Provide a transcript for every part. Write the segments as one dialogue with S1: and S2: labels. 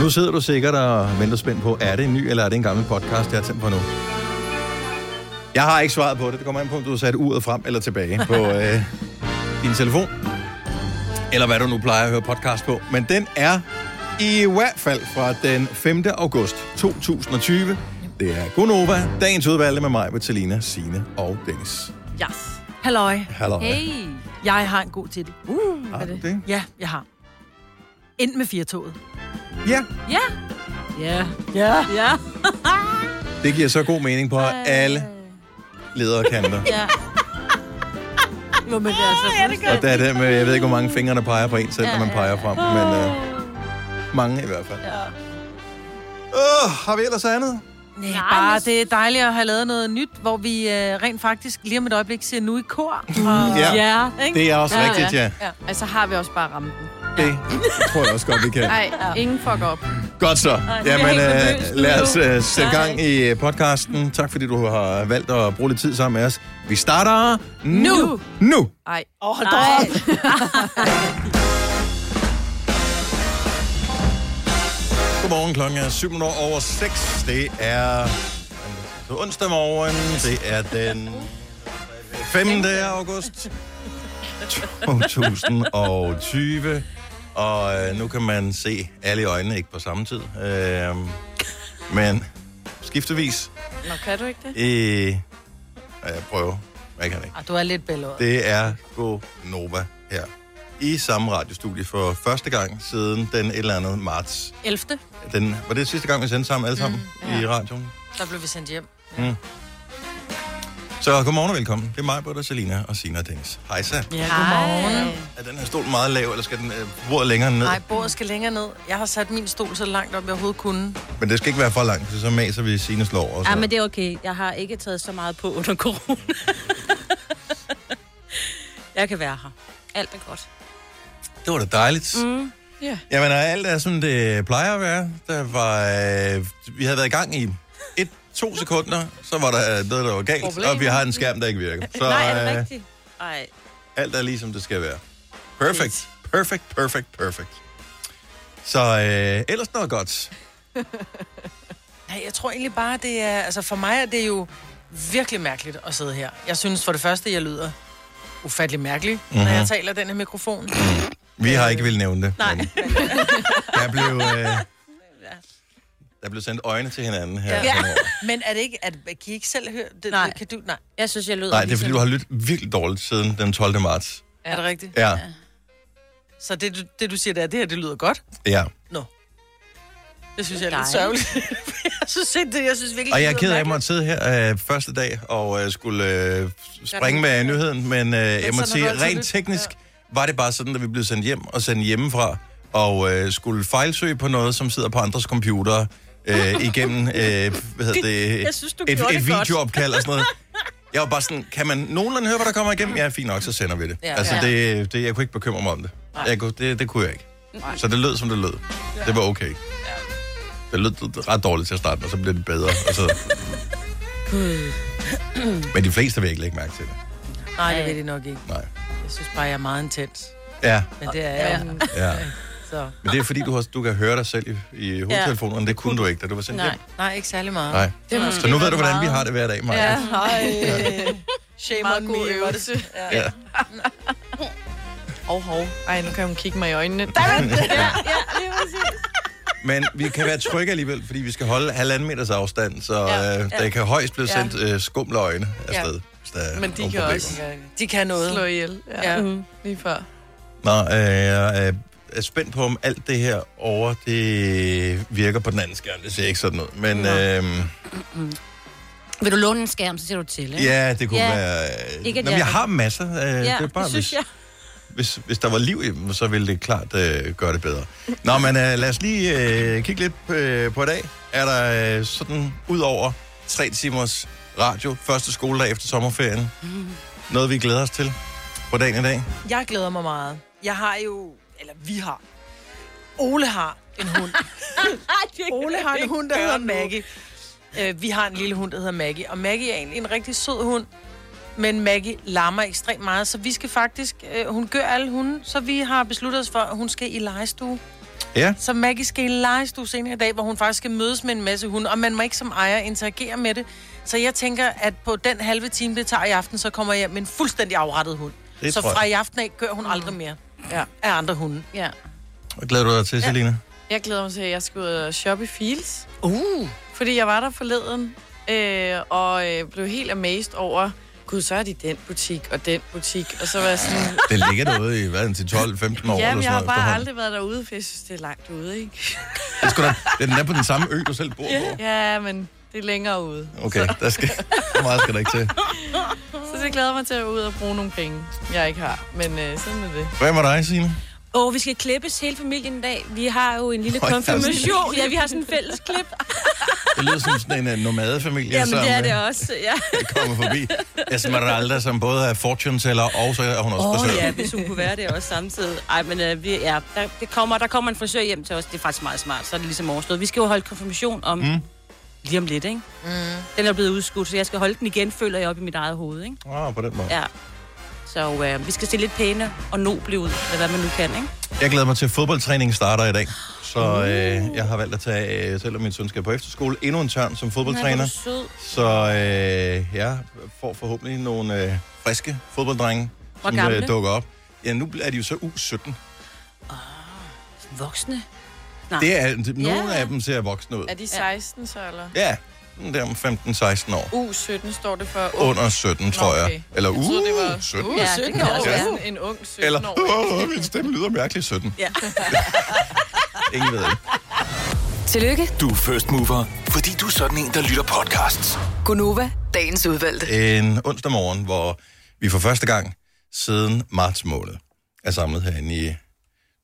S1: Nu sidder du sikkert og venter spændt på, er det en ny eller er det en gammel podcast, jeg har tændt på nu? Jeg har ikke svaret på det. Det kommer an på, om du har sat uret frem eller tilbage på øh, din telefon. Eller hvad du nu plejer at høre podcast på. Men den er i hvert fald fra den 5. august 2020. Det er Gunova, dagens udvalgte med mig, Vitalina, Sine og Dennis.
S2: Yes. Halløj.
S1: Halløj.
S3: Hey.
S2: Jeg har en god titel. Uh,
S1: Har du det?
S2: Ja, jeg har. Ind med firtoget.
S1: Ja,
S3: Ja. Ja.
S2: Ja.
S3: Ja.
S1: det giver så god mening på alle ledere kanter.
S3: Ja. Jo, men det er så ja, det
S1: Og der er det med, jeg ved ikke, hvor mange fingre, der peger på en selv, når man peger frem, men øh, mange i hvert fald. Ja. Øh, har vi ellers andet?
S2: Nej,
S3: Nej,
S2: bare
S3: men-
S2: det er dejligt at have lavet noget nyt, hvor vi øh, rent faktisk lige om et øjeblik ser nu i kor. Og,
S1: Mm, Ja.
S3: Ja.
S2: ikke?
S1: Det er også
S4: Ja, ja.
S1: rigtigt, ja.
S4: Altså har vi også bare ramt den.
S1: Det tror jeg også godt, vi kan.
S4: Nej, ingen fuck op.
S1: Godt så. Jamen,
S3: helt
S1: øh,
S3: nervøs
S1: lad os
S3: nu.
S1: øh, sætte gang i øh, podcasten. Tak fordi du har valgt at bruge lidt tid sammen med os. Vi starter nu. Nu.
S4: Nej.
S2: Åh, hold da op.
S1: Godmorgen, klokken er 7 over 6. Det er det er onsdag morgen. Det er den 5. august 2020. Og øh, nu kan man se alle i øjnene, ikke på samme tid. Øh, men skiftevis.
S4: Nå, kan du ikke det?
S1: Øh, jeg prøver. Jeg kan ikke.
S2: Ah, du er lidt bælåret.
S1: Det er Go Nova her. I samme radiostudie for første gang siden den et eller andet marts
S2: 11.
S1: den, var det sidste gang, vi sendte sammen alle sammen mm, ja. i radioen? Mm.
S2: Der blev vi sendt hjem.
S1: Så godmorgen og velkommen. Det er mig, Britta, Selina og Sina og Dennis. Hej så.
S2: Ja, godmorgen.
S1: Er den her stol meget lav, eller skal den øh, bordet længere ned?
S2: Nej,
S1: Nej.
S2: bordet skal længere ned. Jeg har sat min stol så langt op, jeg overhovedet kunne.
S1: Men det skal ikke være for langt, for så maser vi Sina slår over.
S3: Ja, men det er okay. Jeg har ikke taget så meget på under corona. jeg kan være her. Alt er godt.
S1: det var da dejligt. Mm.
S4: ja.
S1: Jamen, og alt er, som det plejer at være. Der var, øh, vi havde været i gang i et, to sekunder, så var der øh, noget, der var galt, Problemer.
S4: Problemer.
S1: og vi har en skærm, der ikke virker. Så
S3: Nej, er det
S1: øh,
S3: rigtigt? Nej.
S1: alt er ligesom det skal være. Perfect, perfect, perfect, perfect. Så øh, ellers noget godt.
S2: Nej, jeg tror egentlig bare, det er... Altså, for mig er det jo virkelig mærkeligt at sidde her. Jeg synes for det første, jeg lyder ufattelig mærkelig, mm-hmm. når
S1: Mhm.
S2: jeg taler i den her mikrofon.
S1: Vi har ikke vil nævne det.
S3: Nej.
S1: men Der blev, øh, der blev sendt øjne til hinanden her. Ja.
S2: Men er det ikke... At, kan I ikke selv høre det?
S3: Nej.
S2: Kan du, nej.
S3: Jeg synes, jeg lyder
S1: Nej, det er fordi,
S3: ligesom-
S1: du har lyttet virkelig dårligt siden den 12. marts.
S2: Er det rigtigt?
S1: Ja,
S2: Så det, du- det, du siger, det er, det her, det lyder godt.
S1: ja.
S2: Det synes
S3: Det
S2: jeg
S3: er
S2: er lidt
S3: dejligt.
S2: sørgeligt. jeg synes ikke det. Jeg synes virkelig,
S1: Og jeg er
S2: det
S1: ked af, at
S2: lyder
S1: jeg måtte sidde her øh, første dag og øh, skulle øh, springe med nyheden, men øh, jeg må
S2: sådan er
S1: sige,
S2: det altid
S1: rent
S2: lidt.
S1: teknisk var det bare sådan, at vi blev sendt hjem og sendt hjemmefra og øh, skulle fejlsøge på noget, som sidder på andres computere øh, igennem øh, hvad hedder det,
S3: Jeg synes, du
S1: et,
S3: gjorde
S1: et
S3: det godt.
S1: videoopkald og sådan noget. Jeg var bare sådan, kan man nogenlunde høre, hvad der kommer igennem? Ja, fint nok, så sender vi det. Ja,
S2: Ja.
S1: altså,
S2: Ja.
S1: det, det, jeg kunne ikke bekymre mig om det. Jeg kunne, det, det kunne jeg ikke. Nej. Så det lød, som det lød. Det var okay. Det lød ret dårligt til at starte, og så blev det bedre. Og så... Men de fleste vil ikke lægge mærke til det.
S2: godt. Nej, det ved det nok ikke.
S1: Nej.
S2: Jeg synes bare, jeg er meget intens.
S1: Ja,
S2: Men det er jeg jo.
S1: ja.
S2: Så.
S1: Men det er fordi, du, har, du kan høre dig selv i, i hovedtelefonen, og det kunne du ikke, da du var sendt
S3: Nej.
S1: hjem.
S2: Nej, ikke særlig meget.
S1: Nej. Så nu ved du, hvordan vi har det hver dag, Maja. Ja.
S2: Hej. Shame on me. øvelse.
S1: Ja.
S4: Hov, hov. Ej, nu kan hun kigge mig i øjnene. Der
S1: Men vi kan være trygge alligevel, fordi vi skal holde halvanden meters afstand, så ja. øh, der kan højst blive sendt øh, skumle øjne afsted. Ja. Hvis der er
S4: Men de
S1: nogle
S4: kan
S1: problemer.
S4: også
S2: De kan noget.
S4: slå ihjel. Ja. Mm-hmm.
S2: Ja.
S4: ja. Lige før.
S1: Nå, øh, jeg er- er spændt på, om alt det her over, det virker på den anden skærm. Det ser ikke sådan ud. Men øh,
S3: Vil du låne en skærm, så ser du til, ikke?
S1: ja, det kunne
S3: Ja.
S1: være... øh,
S3: Ikke, at
S1: Nå,
S3: jeg-
S1: men jeg har masser. Øh, ja, det
S3: Ja,
S1: er bare,
S3: det synes
S1: hvis,
S3: jeg.
S1: hvis, hvis der var liv i dem, så ville det klart øh, gøre det bedre. Nå, men øh, lad os lige øh, kigge lidt øh, på i dag. Er der øh, sådan, ud over tre timers radio, første skoledag efter sommerferien, noget vi glæder os til på dagen i dag?
S2: Jeg glæder mig meget. Jeg har jo, eller vi har, Ole har en hund. Ole har en hund, der hedder Maggie. Øh, vi har en lille hund, der hedder Maggie. Og Maggie er egentlig en rigtig sød hund. Men Maggie larmer ekstremt meget, så vi skal faktisk... Øh, hun gør alle hunde, så vi har besluttet os for, at hun skal i legestue.
S1: Ja.
S2: Så Maggie skal i legestue senere i dag, hvor hun faktisk skal mødes med en masse hunde, og man må ikke som ejer interagere med det. Så jeg tænker, at på den halve time, det tager i aften, så kommer jeg hjem med en fuldstændig afrettet hund.
S1: Det
S2: så
S1: tror jeg.
S2: fra i aften af kører hun aldrig mere
S4: Ja.
S2: af andre hunde.
S3: Ja.
S1: Hvad glæder du dig til, Selina?
S4: Jeg glæder mig til, at jeg skal ud og shoppe i Fields.
S2: Uh.
S4: Fordi jeg var der forleden, øh, og øh, blev helt amazed over, gud, så er de den butik og den butik. Og så var jeg sådan,
S1: Det ligger derude i, hvad, til 12-15 år eller sådan noget.
S4: ja, jeg har bare
S1: efterhånden.
S4: aldrig været derude, for jeg synes, det er langt ude, ikke?
S1: Det skulle da, den er på den samme ø, du selv bor på.
S4: Ja, men det er længere ude.
S1: Uh, Okay, der skal, så meget skal der ikke til.
S4: Så det glæder jeg mig til at ud og bruge nogle penge, jeg ikke har. Men øh, sådan er det.
S1: Hvad med dig, Signe?
S5: Og vi skal klippes hele familien i dag. Vi har jo en lille
S1: Hold da op.
S5: konfirmation. Ja, vi har sådan en fælles klip.
S1: Det lyder som sådan en øh, nomadefamilie,
S5: Jamen,
S1: som
S5: det er
S1: øh,
S5: det også. Ja.
S1: kommer forbi. Esmeralda, som både er fortune teller, og så er hun også
S5: Åh oh,
S1: frisør.
S5: ja, hvis hun kunne være det også samtidig. Ej, men øh, vi, ja, der, det kommer, der kommer en frisør hjem til os. Det er faktisk meget smart, så er det ligesom overstået. Vi skal jo holde konfirmation om mm. lige om lidt, ikke? Mm. Den er blevet udskudt, så jeg skal holde den igen, føler jeg op i mit eget hoved, ikke?
S1: Ah, på den måde.
S5: Ja. Så øh, vi skal se lidt pæne og noble ud, eller hvad man nu kan, ikke?
S1: Jeg glæder mig til, at fodboldtræningen starter i dag. Så øh, jeg har valgt at tage, øh, selvom min søn skal på efterskole, endnu en tørn som
S5: Nej, hvor er
S1: fodboldtræner.
S5: du sød.
S1: Så øh, jeg får forhåbentlig nogle øh, friske fodbolddrenge,
S5: Hvor
S1: som øh,
S5: gamle?
S1: dukker op. Ja, nu er de jo så U17.
S5: Voksne.
S1: Det er, nogle
S5: Ja.
S1: af dem ser voksne ud.
S4: Er de 16 så, eller?
S1: Ja, sådan der om 15-16 år.
S4: U17 står det for.
S1: Under 17, tror
S4: Uh. okay.
S1: jeg. Eller
S4: Jeg troede, det var
S1: uh, 17.
S4: Uh,
S5: Ja, det
S4: 17
S5: kan
S4: år.
S5: også
S4: Ja.
S5: være.
S4: Sådan en ung 17
S1: Eller,
S4: år.
S1: åh, min stemme lyder mærkeligt 17.
S5: Ja.
S1: Ingen ved det.
S6: Tillykke,
S7: Du er first mover, fordi du er sådan en, der lytter podcasts.
S6: Gunova, dagens udvalgte.
S1: En onsdag morgen, hvor vi for første gang siden marts måned er samlet herinde i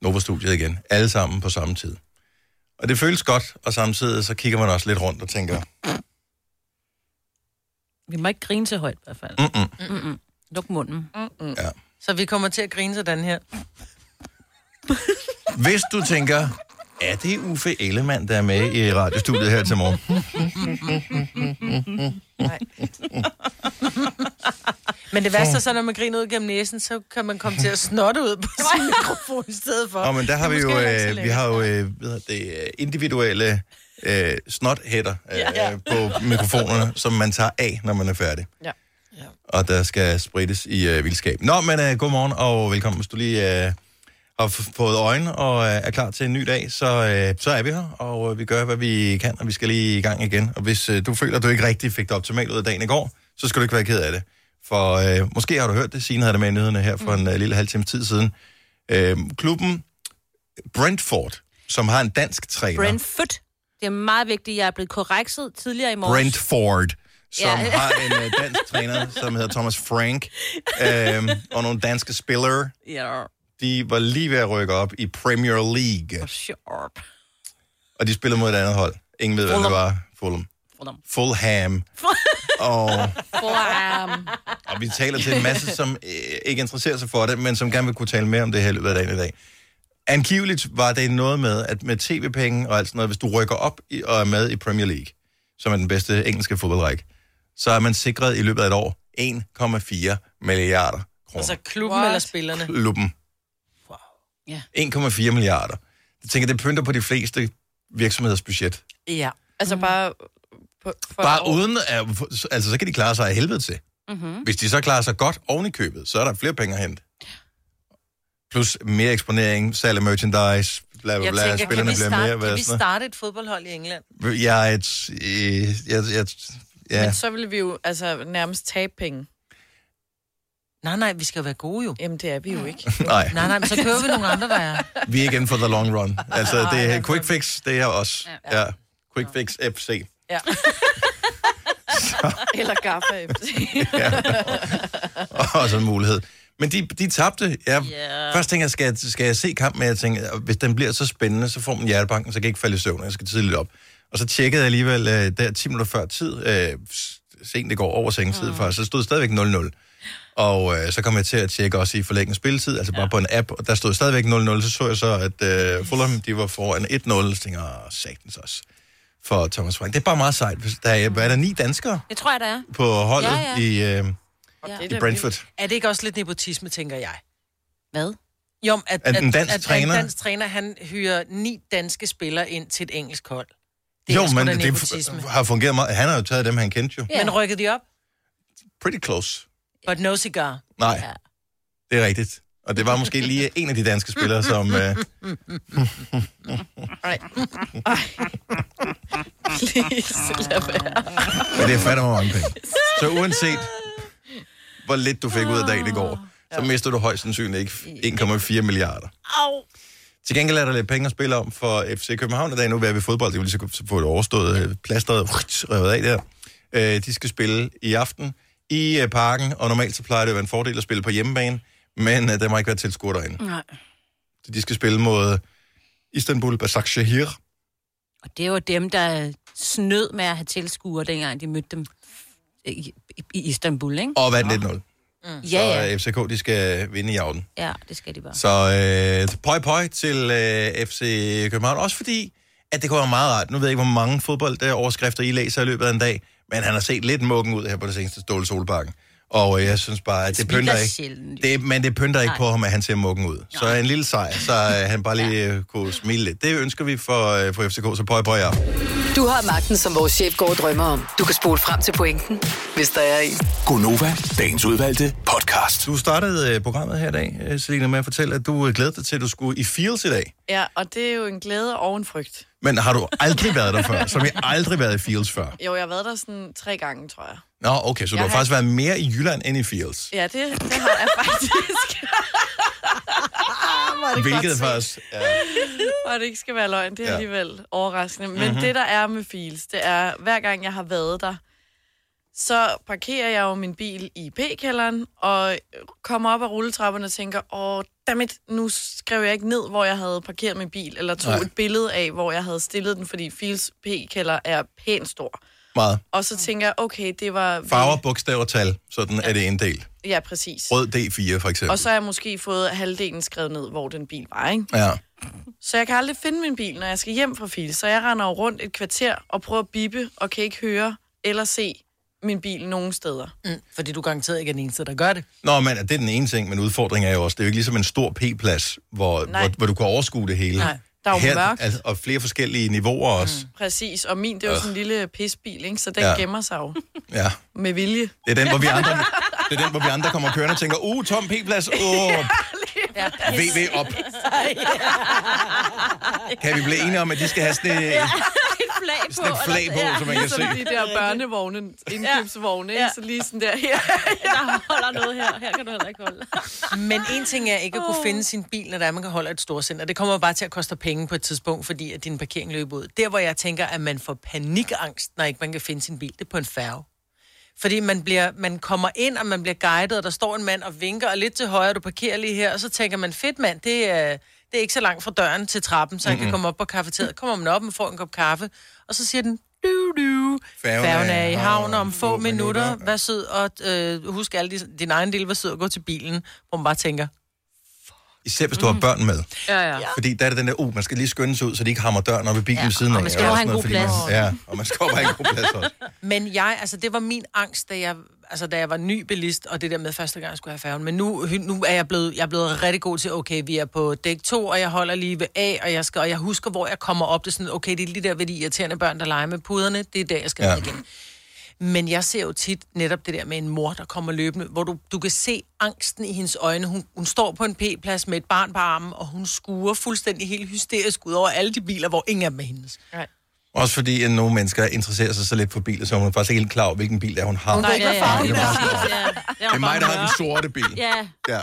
S1: Nova-studiet igen. Alle sammen på samme tid. Og det føles godt, og samtidig så kigger man også lidt rundt og tænker,
S5: Vi må ikke grine så højt i hvert fald.
S1: mm -mm,
S5: Luk munden.
S1: ja.
S2: Så vi kommer til at grine sådan her.
S1: Hvis du tænker, er det Uffe Ellemann, der er med i radiostudiet her til morgen?
S2: Men det værste er så, når man griner ud gennem næsen, så kan man komme til at snotte ud på sin mikrofon i stedet for.
S1: Nå, men der har vi
S2: Det er
S1: jo,
S2: måske heller ikke så
S1: øh, vi
S2: lækkert.
S1: har jo øh, hvad hedder det, øh, individuelle øh, snothætter øh, ja. på mikrofonerne, som man tager af, når man er færdig.
S4: Ja.
S2: Ja.
S1: Og der skal sprittes i øh, vildskab. Nå, men øh, godmorgen og velkommen. Hvis du lige øh, har f- fået øjne og øh, er klar til en ny dag, så, øh, så er vi her, og øh, vi gør, hvad vi kan, og vi skal lige i gang igen. Og hvis øh, du føler, at du ikke rigtig fik det optimalt ud af dagen i går, så skal du ikke være ked af det. For øh, måske har du hørt det, Signe havde det med i nyhederne her
S5: Mm.
S1: for en øh, lille halv times tid siden. Øh, klubben Brentford, som har en dansk træner,
S5: Brentford. Det er meget vigtigt, jeg er blevet korrekset tidligere i morges.
S1: Brentford, som
S5: Ja.
S1: har en øh, dansk træner, som hedder Thomas Frank, øh, og nogle danske spillere,
S5: Ja,
S1: de var lige ved at rykke op i Premier League,
S5: sharp.
S1: og de spillede mod et andet hold. Ingen ved, hvad det
S5: Fulham.
S1: var. Fulham.
S5: Fulham.
S1: Fulham. og,
S4: Blam.
S1: og vi taler til en masse, som øh, ikke interesserer sig for det, men som gerne vil kunne tale mere om det her i løbet af dagen i dag. Angiveligt var det noget med, at med tv-penge og alt sådan noget, hvis du rykker op i, og er med i Premier League, som er den bedste engelske fodboldrække, så er man sikret i løbet af et år 1,4 milliarder kroner.
S2: Altså klubben What?
S4: What?
S2: eller spillerne.
S1: klubben.
S3: Ja.
S1: 1,4 milliarder. Jeg tænker, det pynter på de fleste virksomheders budget.
S2: Ja. Mhm.
S4: Altså bare... På, for
S1: Bare
S4: et år.
S1: uden, at, altså så kan de klare sig af helvede til.
S2: Mm. Mhm.
S1: Mm-hmm. Hvis de så klarer sig godt oven i købet, så er der flere penge at hente. Plus mere eksponering, salg af merchandise, bla bla
S2: Jeg
S1: bla,
S2: tænker, kan
S1: spillerne
S2: vi,
S1: bliver mere,
S2: starte,
S1: hvad
S2: kan vi
S1: sådan noget.
S2: starte et fodboldhold i England?
S1: Jeg er et, øh, jeg, jeg, ja,
S4: Men så ville vi jo altså, nærmest tabe penge.
S2: Nej, nej, vi skal jo være gode jo.
S4: Jamen, det er vi jo ikke.
S1: nej,
S2: Nej, nej, men så kører vi nogle andre, der er.
S1: vi er igen for the long run. Altså, det er quick fix, det er os. Ja. ja. Quick fix FC.
S4: Ja. Eller Gaffa FC.
S1: og sådan en mulighed. Men de, de tabte. Jeg,
S5: Ja.
S1: Først tænkte jeg, skal, jeg- skal jeg se kampen? Men jeg tænkte, hvis den bliver så spændende, så får man hjertebanken, så kan jeg ikke falde i søvn, og jeg skal tidligt op. Og så tjekkede jeg alligevel øh, der 10 minutter før tid, øh, s- sent det går over sengetid mm. faktisk, så stod det stadigvæk 0-0. Og øh, så kom jeg til at tjekke også i forlænget spilletid, altså bare på en app, og der stod stadigvæk 0-0, så så jeg så, at øh, Fulham, de var foran 1-0, så tænkte jeg, "Åh, satans også, for Thomas Frank. Det er bare meget sejt. hvis Der er, hvad er der ni danskere
S5: Det tror jeg, der er.
S1: på holdet
S5: Ja,
S1: ja, ja. I, øh,
S4: Det er
S1: i
S4: da
S1: Brentford?
S2: Er det ikke også lidt nepotisme, tænker jeg?
S5: Hvad?
S2: Jo, at,
S1: At en dansk træner-
S2: At en dansk træner, han hyrer ni danske spillere ind til et engelsk hold.
S1: Det jo,
S2: sgu
S1: men
S2: da
S1: det
S2: nepotisme.
S1: f- har fungeret meget. Han har jo taget dem, han kendte jo.
S3: Ja.
S2: Men rykkede de op?
S1: Pretty close.
S2: But no cigar.
S1: Nej, det er rigtigt. Og det var måske lige en af de danske spillere, som... Øh,
S4: Please, lad være.
S1: Men det er fandme mange penge. Så uanset, hvor lidt du fik ud af dagen i går, så mister du højst sandsynligt ikke 1,4 milliarder. Til gengæld er der lidt penge at spille om for FC København i dag. Nu er vi i fodbold, det vil lige så godt få et overstået øh, plasteret revet af der. Øh, De skal spille i aften i øh, parken, og normalt så plejer det at være en fordel at spille på hjemmebane, men øh, der må ikke være tilskuer derinde.
S5: Nej.
S1: Så de skal spille mod Istanbul Basaksehir.
S5: Og det var dem, der snød med at have tilskuere, dengang de mødte dem i, i- i Istanbul, ikke?
S1: Og vandt 1-0.
S5: Ja,
S1: Og
S5: ja.
S1: øh, FCK, de skal vinde i aften.
S5: Ja, det skal de bare.
S1: Så øh, pøj pøj til øh, FC København. Også fordi, at det kunne være meget rart. Nu ved jeg ikke, hvor mange fodboldoverskrifter I læser i løbet af en dag, men han har set lidt mukken ud her på det seneste Ståle Solbakken. Og øh, jeg synes bare, at det
S5: smiler
S1: pynter ikke.
S5: Altså, sjældent, jo.
S1: Det, men det pynter ikke på ham, at han ser mukken ud. Så en lille sejr, så øh, han bare lige øh, kunne smile lidt. Det ønsker vi for, øh, for FCK, så pøj pøj af.
S6: Du har magten, som vores chef går og drømmer om. Du kan spole frem til pointen, hvis der er en.
S7: Gonova, dagens udvalgte podcast.
S1: Du startede øh, programmet her i dag, øh, Selina, med at fortælle, at du øh, glædede dig til, at du skulle i Fields i dag.
S4: Ja, og det er jo en glæde og en frygt.
S1: Men har du aldrig været der før? Som jeg aldrig været i Fields før?
S4: Jo, jeg har været der sådan tre gange, tror jeg.
S1: Nå, okay, så du har,
S4: har-
S1: faktisk været mere i Jylland end i Fields.
S4: Ja, det, det har jeg faktisk.
S1: Hvilket faktisk er...
S4: og det ikke skal være løgn, det er
S1: Ja. Mhm.
S4: alligevel overraskende. Men mm-hmm. det, der er med Fields, det er, hver gang jeg har været der, så parkerer jeg jo min bil i P-kælderen, og kommer op ad rulletrapperne og tænker, åh, dammit, nu skrev jeg ikke ned, hvor jeg havde parkeret min bil, eller tog
S1: Nej.
S4: Nej. et billede af, hvor jeg havde stillet den, fordi Fields P-kælder er pænt stor.
S1: Meget.
S4: Og så tænker jeg, okay, det var...
S1: Farver, bogstaver, tal. Sådan er det en del.
S4: Ja, præcis.
S1: Rød D4, for eksempel.
S4: Og så har jeg måske fået halvdelen skrevet ned, hvor den bil var, ikke?
S1: Ja.
S4: Så jeg kan aldrig finde min bil, når jeg skal hjem fra Fils. Så jeg render jo rundt et kvarter og prøver at bippe, og kan ikke høre eller se min bil nogen steder.
S2: Mm, fordi du garanteret ikke er den eneste, der gør det.
S1: Nå, men det er den ene ting, men udfordringen er jo også, det er jo ikke ligesom en stor P-plads, hvor,
S4: Nej.
S1: hvor, hvor du kan overskue det hele.
S4: Nej, der er jo mørkt. Mm.
S1: Altså, og flere forskellige niveauer også.
S4: Præcis, og min, det er jo sådan en lille pisbil, ikke? Så den
S1: Øh. Ja.
S4: ja. gemmer sig jo
S1: Ja.
S4: med vilje.
S1: Det er den, hvor vi andre... Det er den, hvor vi andre kommer kørende og tænker, uh, tom P-plads, åh,
S5: Ja.
S1: VV op. Kan vi blive enige om, at de skal have sådan et,
S5: Et flag på.
S1: sådan et flag
S5: eller-
S1: på, så man kan se?
S4: Som de der børnevogne, indkøbsvogne, ikke? Så lige sådan der her.
S5: Der holder noget her. Her kan du heller ikke holde.
S2: Men en ting er ikke at kunne finde sin bil, når der er, man kan holde et storcenter. Det kommer bare til at koste penge på et tidspunkt, fordi at din parkering løber ud. Der, hvor jeg tænker, at man får panikangst, når ikke man kan finde sin bil, det er på en færge. Fordi man, bliver, man kommer ind, og man bliver guidet, og der står en mand og vinker, og lidt til højre, du parkerer lige her, og så tænker man, fedt mand, det er, det er ikke så langt fra døren til trappen, så han mm-hmm. kan komme op på kaffeteriet. Kommer man op og får en kop kaffe, og så siger den, du, du.
S1: Færgen
S2: Færgen,
S1: er
S2: er i havn om få minutter. minutter. Vær sød, og øh, husk alle de, din egen del, vær sød og gå til bilen, hvor man bare tænker,
S1: Især hvis du har børn med.
S5: Mhm. Ja, ja.
S1: Fordi der er det den der, uh, man skal lige skynde sig ud, så de ikke hammer døren op i bilen ja, ved siden af.
S5: og man skal jo
S1: også
S5: have en
S1: noget,
S5: god
S1: fordi man-
S5: plads.
S1: Ja, og man skal jo have en god plads også.
S2: Men jeg, altså det var min angst, da jeg, altså, da jeg var ny bilist, og det der med første gang, jeg skulle have færgen. Men nu, nu er jeg blevet, jeg er blevet rigtig god til, okay, vi er på dæk 2, og jeg holder lige ved A, og jeg, skal, og jeg husker, hvor jeg kommer op. Det er sådan, okay, det er lige der ved de irriterende børn, der leger med puderne. Det er der, jeg skal
S1: Ja.
S2: ja. ned igen. Men jeg ser jo tit netop det der med en mor, der kommer løbende, hvor du, du kan se angsten i hendes øjne. Hun, hun står på en p-plads med et barn på armen, og hun skuer fuldstændig helt hysterisk ud over alle de biler, hvor ingen af dem er hendes.
S1: Også fordi, at nogle mennesker interesserer sig så lidt for biler, så hun er faktisk ikke helt klar over, hvilken bil det er, hun har.
S5: Ja,
S1: det
S5: ja, ja.
S1: Det er bare-
S5: præcis, ja.
S1: er mig, der har den sorte bil.
S5: Ja,
S1: Ja.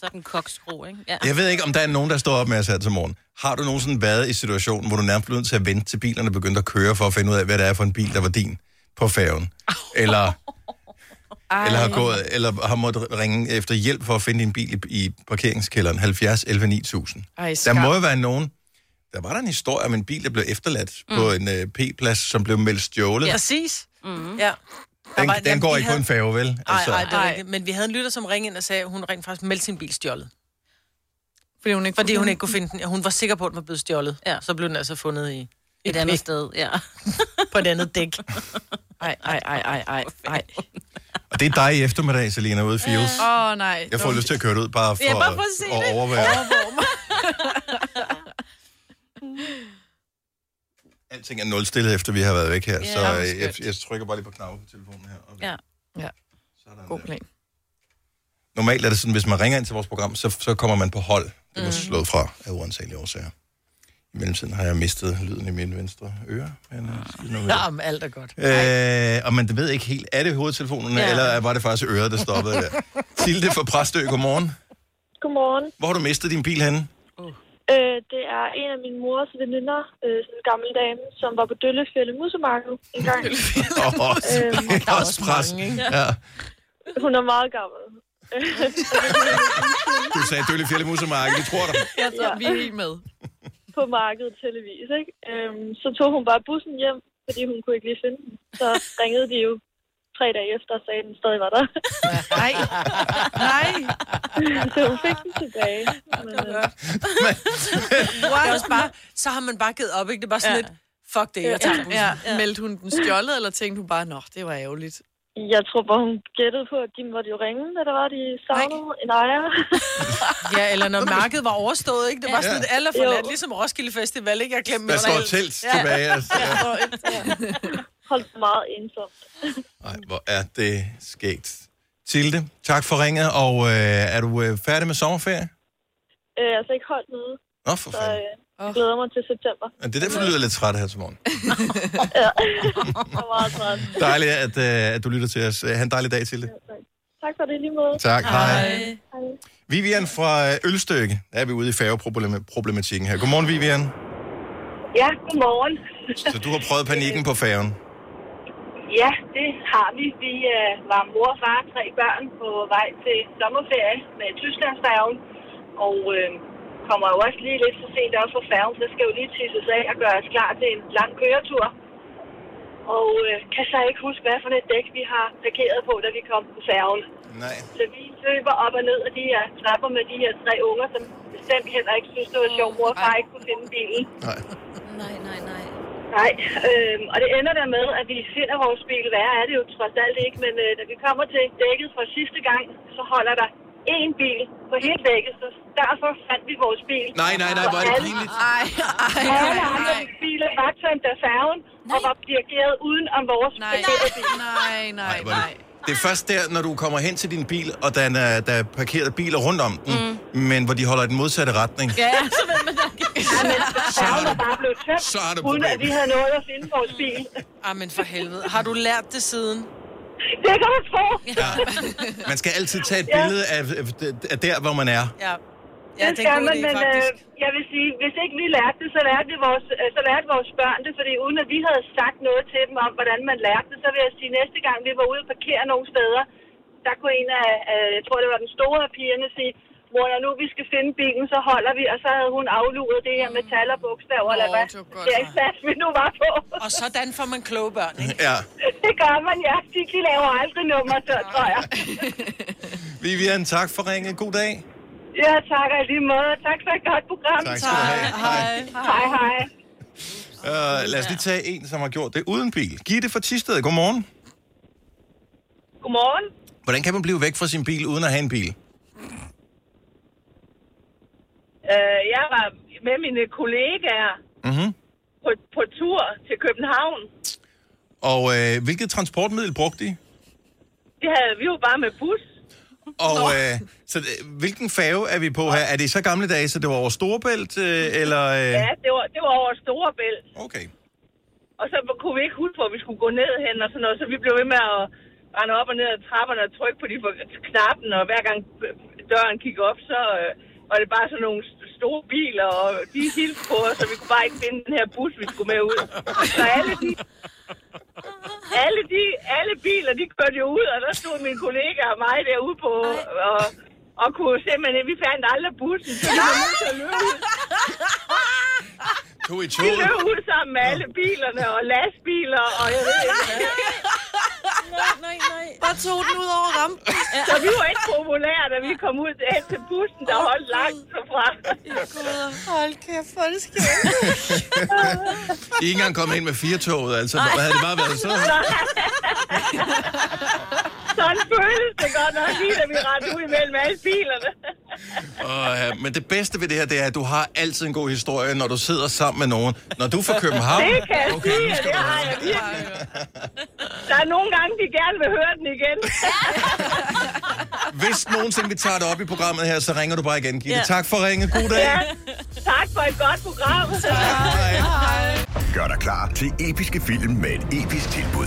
S5: sådan en kokskro, ikke? Ja.
S1: Jeg ved ikke, om der er nogen, der står op med os her til morgen. Har du nogensinde været i situationen, hvor du nærmest blev nødt til at vente til bilerne begyndte at køre, for at finde ud af, hvad det er for en bil, der var din på færgen? Eller, eller, har, gået, eller har måttet ringe efter hjælp for at finde din bil i, i parkeringskælderen 70 11 9000?
S4: Ej,
S1: Der
S4: skam.
S1: må jo være nogen... Der var der en historie om en bil, der blev efterladt mm. på en øh, P-plads, som blev meldt stjålet. Yes.
S2: Præcis. Mm-hmm. Ja. Der
S1: Den,
S2: var-
S1: den
S2: jamen,
S1: går
S2: vi
S1: ikke på
S2: havde-
S1: en færge, vel? Altså-
S2: Nej, nej, det er
S4: Ej.
S2: rigtigt. Men vi havde en lytter, som ringede ind og sagde, at hun rent faktisk meldte sin bil stjålet.
S4: Fordi hun ikke
S2: Fordi hun ikke kunne finde den. Hun var sikker på, at den var blevet stjålet. Ja. Så blev den altså fundet i,
S5: Et andet sted, ja.
S2: på et andet dæk.
S4: Ej, ej, ej, ej, ej, ej.
S1: og Og det er dig i eftermiddag, Selina, ude i Fields.
S4: Åh, oh, nej.
S1: Jeg får lyst til at køre det ud, bare for,
S4: Ja, bare for at se
S1: at
S4: det.
S1: overvære. Alting er nulstillet, efter vi har været væk her,
S5: Ja,
S1: så
S5: hvor
S1: øh,
S5: skønt.
S1: jeg, jeg trykker bare lige på knappen på telefonen her. Og
S5: Ja.
S4: Ja.
S1: Sådan
S4: God
S1: der.
S4: plan.
S1: Normalt er det sådan, hvis man ringer ind til vores program, så, så kommer man på hold. Det var slået fra af uansagelige årsager. I mellemtiden har jeg mistet lyden i min venstre øre. Men, øh, skidt nu med det.
S2: Ja, Mm. men alt er godt.
S1: Øh, og man ved ikke helt, er det hovedtelefonerne, ja.
S5: Ja.
S1: eller var det faktisk øret, der stoppede der? Tilde fra Præstø, godmorgen.
S8: Godmorgen.
S1: Hvor har du mistet din bil henne?
S8: Øh, det er en af min mors veninder, øh, sådan en gammel dame, som var på Døllefjælde Musemarked en gang.
S1: Åh, oh,
S8: Øhm,
S1: det er også pres. Ja.
S8: Hun er meget gammel.
S1: Du sagde Dølle Fjelle Musemarked, vi tror dig.
S4: Jeg tror,
S8: Ja.
S4: vi er helt med.
S8: På markedet heldigvis, ikke? Øhm, så tog hun bare bussen hjem, fordi hun kunne ikke lige finde den. Så ringede de jo tre dage efter og sagde, at den stadig var der.
S4: Nej. Nej.
S8: så hun fik den tilbage. Men, øh,
S2: Det er også bare, så har man bare givet op, ikke? Det er bare sådan ja.
S5: Ja.
S2: lidt, fuck det, jeg tager bussen.
S4: Ja.
S2: Ja.
S4: ja. Meldte hun den stjålet, eller tænkte hun bare, nå, det var ærgerligt.
S8: jeg tror bare, hun gættede på, at de måtte jo ringe, da der var, de savnede en ejer.
S2: ja, eller når markedet var overstået, ikke? Det var sådan
S1: Ja.
S2: lidt aller forladt,
S8: Jo.
S2: ligesom Roskilde Festival, ikke? Jeg glemte
S1: Der
S2: min
S1: står et
S2: regel.
S1: telt tilbage. Altså.
S8: Holdt sig meget ensomt.
S1: Ej, hvor er det skægt. Tilde, tak for ringet, og øh, er du øh, færdig med sommerferie?
S8: Øh, altså ikke holdt nede,
S1: Nå, for
S8: så
S1: fanden.
S8: øh, jeg glæder mig til september.
S1: Det er derfor, du lyder lidt træt her til morgen.
S8: Jeg er meget træt.
S1: Dejligt, at, øh, at du lytter til os. Ha' en dejlig dag, Tilde.
S8: Tak for det i lige måde.
S1: Tak, hej. Vivian fra øh, Ølstykke. Der er vi ude i færgeproblematikken her. Godmorgen, Vivian.
S8: Ja, godmorgen.
S1: Så du har prøvet panikken på færgen.
S8: Ja, det har vi. Vi øh, var mor og far tre børn på vej til sommerferie med Tysklandsfærgen. Og øh, kommer jo også lige lidt for sent op fra færgen, så skal jo lige tisses af og gøres klar til en lang køretur. Og øh, kan så ikke huske, hvad for et dæk vi har parkeret på, da vi kom på færgen.
S1: Nej.
S8: Så vi løber op og ned af de her trapper med de her tre unger, som bestemt heller ikke synes, det var sjovt, mor og far ikke kunne finde bilen.
S1: Nej.
S3: Nej, nej, nej.
S8: Nej, øh, og det ender der med, at vi finder vores bil. Værre er det jo trods alt ikke, men øh, da vi kommer til dækket fra sidste gang, så holder der én bil på hele dækket, så derfor fandt vi vores bil.
S1: Nej, nej, nej, hvor er det
S8: Alle-
S1: pinligt.
S4: Ej, ej,
S8: Alle
S4: nej,
S8: andre
S4: nej.
S8: biler var tømt af færgen og var dirigeret uden om vores
S4: Nej,
S8: parkerede bil.
S4: nej, nej,
S1: Ej, hvor er
S4: nej.
S1: det- Det er først der, når du kommer hen til din bil, og der er, der er parkeret biler rundt om den, mm. men hvor de holder i den modsatte retning. Ja.
S8: Færgen var bare blevet tømt,
S1: Så er det
S8: uden at
S1: problem.
S8: vi havde nået at finde vores bil.
S2: Ah, men for helvede. Har du lært det siden?
S8: Det kan du tro.
S1: Man skal altid tage et
S8: Ja.
S1: billede af, af der, hvor man er.
S2: Ja. Ja,
S8: Ja,
S2: det
S8: det
S2: er
S8: gør
S2: en god
S8: man,
S2: idé,
S8: men øh,
S2: faktisk.
S8: jeg vil sige, hvis ikke vi lærte det, så lærte, vi vores, øh, så lærte vores børn det, fordi uden at vi havde sagt noget til dem om, hvordan man lærte det, så vil jeg sige, næste gang vi var ude og parkere nogle steder, der kunne en af, øh, jeg tror det var den store af pigerne, sige, mor, når nu vi skal finde bilen, så holder vi, og så havde hun afluret det her med tal og bogstaver, eller
S4: Nå,
S8: hvad
S4: det var godt,
S8: det er ikke fast, vi nu var på.
S2: Og sådan får man kloge børn, ikke?
S1: Ja.
S8: det gør man, ja. De, de laver aldrig nummer, så tror jeg.
S1: Vivian, tak for ringet. God dag.
S8: Ja, tak og i lige måde. Tak for et godt program.
S1: Tak skal du have. Hej.
S8: Hej, hej.
S1: Uh, lad os lige tage en, som har gjort det uden bil. Gitte fra Tisted, godmorgen.
S8: Godmorgen.
S1: Hvordan kan man blive væk fra sin bil, uden at have en bil?
S8: Øh, jeg var med mine kollegaer
S1: Mhm.
S8: på, på tur til København.
S1: Og øh, hvilket transportmiddel brugte I?
S8: Det havde vi jo bare med bus.
S1: Og øh, så, øh, hvilken fave er vi på her? Er det i så gamle dage, så det var over Storebælt, øh, eller... Øh?
S8: Ja, det var, det var over Storebælt.
S1: Okay.
S8: Og så kunne vi ikke huske, hvor vi skulle gå ned hen og sådan noget, så vi blev ved med at rende op og ned ad trapperne og trykke på de for- knappen, og hver gang øh, døren kiggede op, så øh, var det bare sådan nogle st- store biler, og de hilste på os, og vi kunne bare ikke finde den her bus, vi skulle med ud. Så alle de, alle de alle biler, de kørte jo ud, og der stod min kollega og mig derude på, og, og kunne simpelthen, vi fandt aldrig bussen, så vi var nødt til at løbe ud.
S1: To i to.
S8: Vi løb ud sammen med alle bilerne og lastbiler, og jeg ved ikke hvad.
S4: Bare tog den ud over rampen.
S8: Så vi var ikke populære, da vi kom ud hen til bussen, der holdt langt derfra.
S4: Hold kæft, hvor er det skægt.
S1: I er ikke engang kommet ind med firetoget, altså. Hvad havde det bare været så?
S8: Sådan blev godt nok lige, da vi rendte ud imellem alle bilerne.
S1: Og, øh, men det bedste ved det her, det er, at du har altid en god historie, når du sidder sammen med nogen. Når du er fra København...
S8: Det kan jeg
S1: Okay,
S8: sige,
S1: nu
S8: og
S1: skal
S8: det
S1: du
S8: har jeg virkelig. Der er nogle gange, de gerne vil høre den igen.
S1: Hvis nogensinde vi tager det op i programmet her, så ringer du bare igen, Gitte. Tak for ringet. God dag.
S8: Ja. Tak for et godt program.
S1: Hej.
S7: Gør dig klar til episke film med et episk tilbud.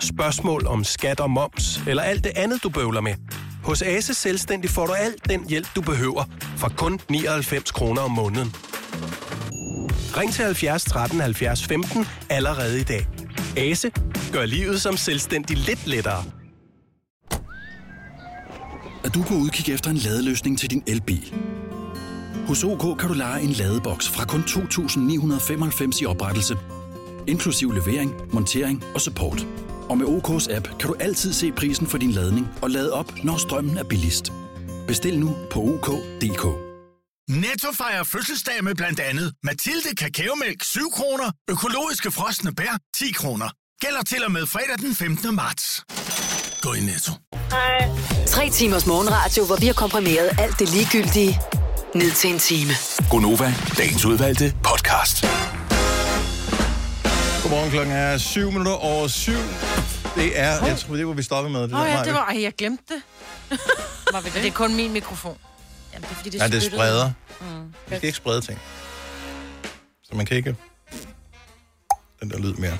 S9: Spørgsmål om skat og moms, eller alt det andet, du bøvler med? Hos Ase Selvstændig får du alt den hjælp, du behøver, for kun 99 kroner om måneden. Ring til 70 13 70 15 allerede i dag. Ase gør livet som selvstændig lidt lettere.
S10: at du på udkig efter en ladeløsning til din elbil. Hos OK kan du lege en ladeboks fra kun 2.995 i oprettelse, inklusiv levering, montering og support. Og med OK's app kan du altid se prisen for din ladning og lade op, når strømmen er billigst. Bestil nu på OK.dk.
S11: Netto fejrer fødselsdag med blandt andet Mathilde Kakaomælk 7 kroner, økologiske frosne bær 10 kroner. Gælder til og med fredag den 15. marts. Gå i Netto.
S6: Tre timers morgenradio, hvor vi har komprimeret alt det ligegyldige ned til en time.
S7: Gonova, dagens udvalgte podcast.
S1: Godmorgen, klokken er 7 minutter over 7. Det er, jeg tror, det var, vi stoppede med. Det
S2: Åh oh, ja,
S1: Maja.
S2: det var... Ej, jeg glemte det. Var vi det? det er kun min mikrofon. Jamen, det Mm. er fordi,
S1: Ja, det spreder. Vi skal ikke sprede ting. Så man kan ikke... Den der lyd mere.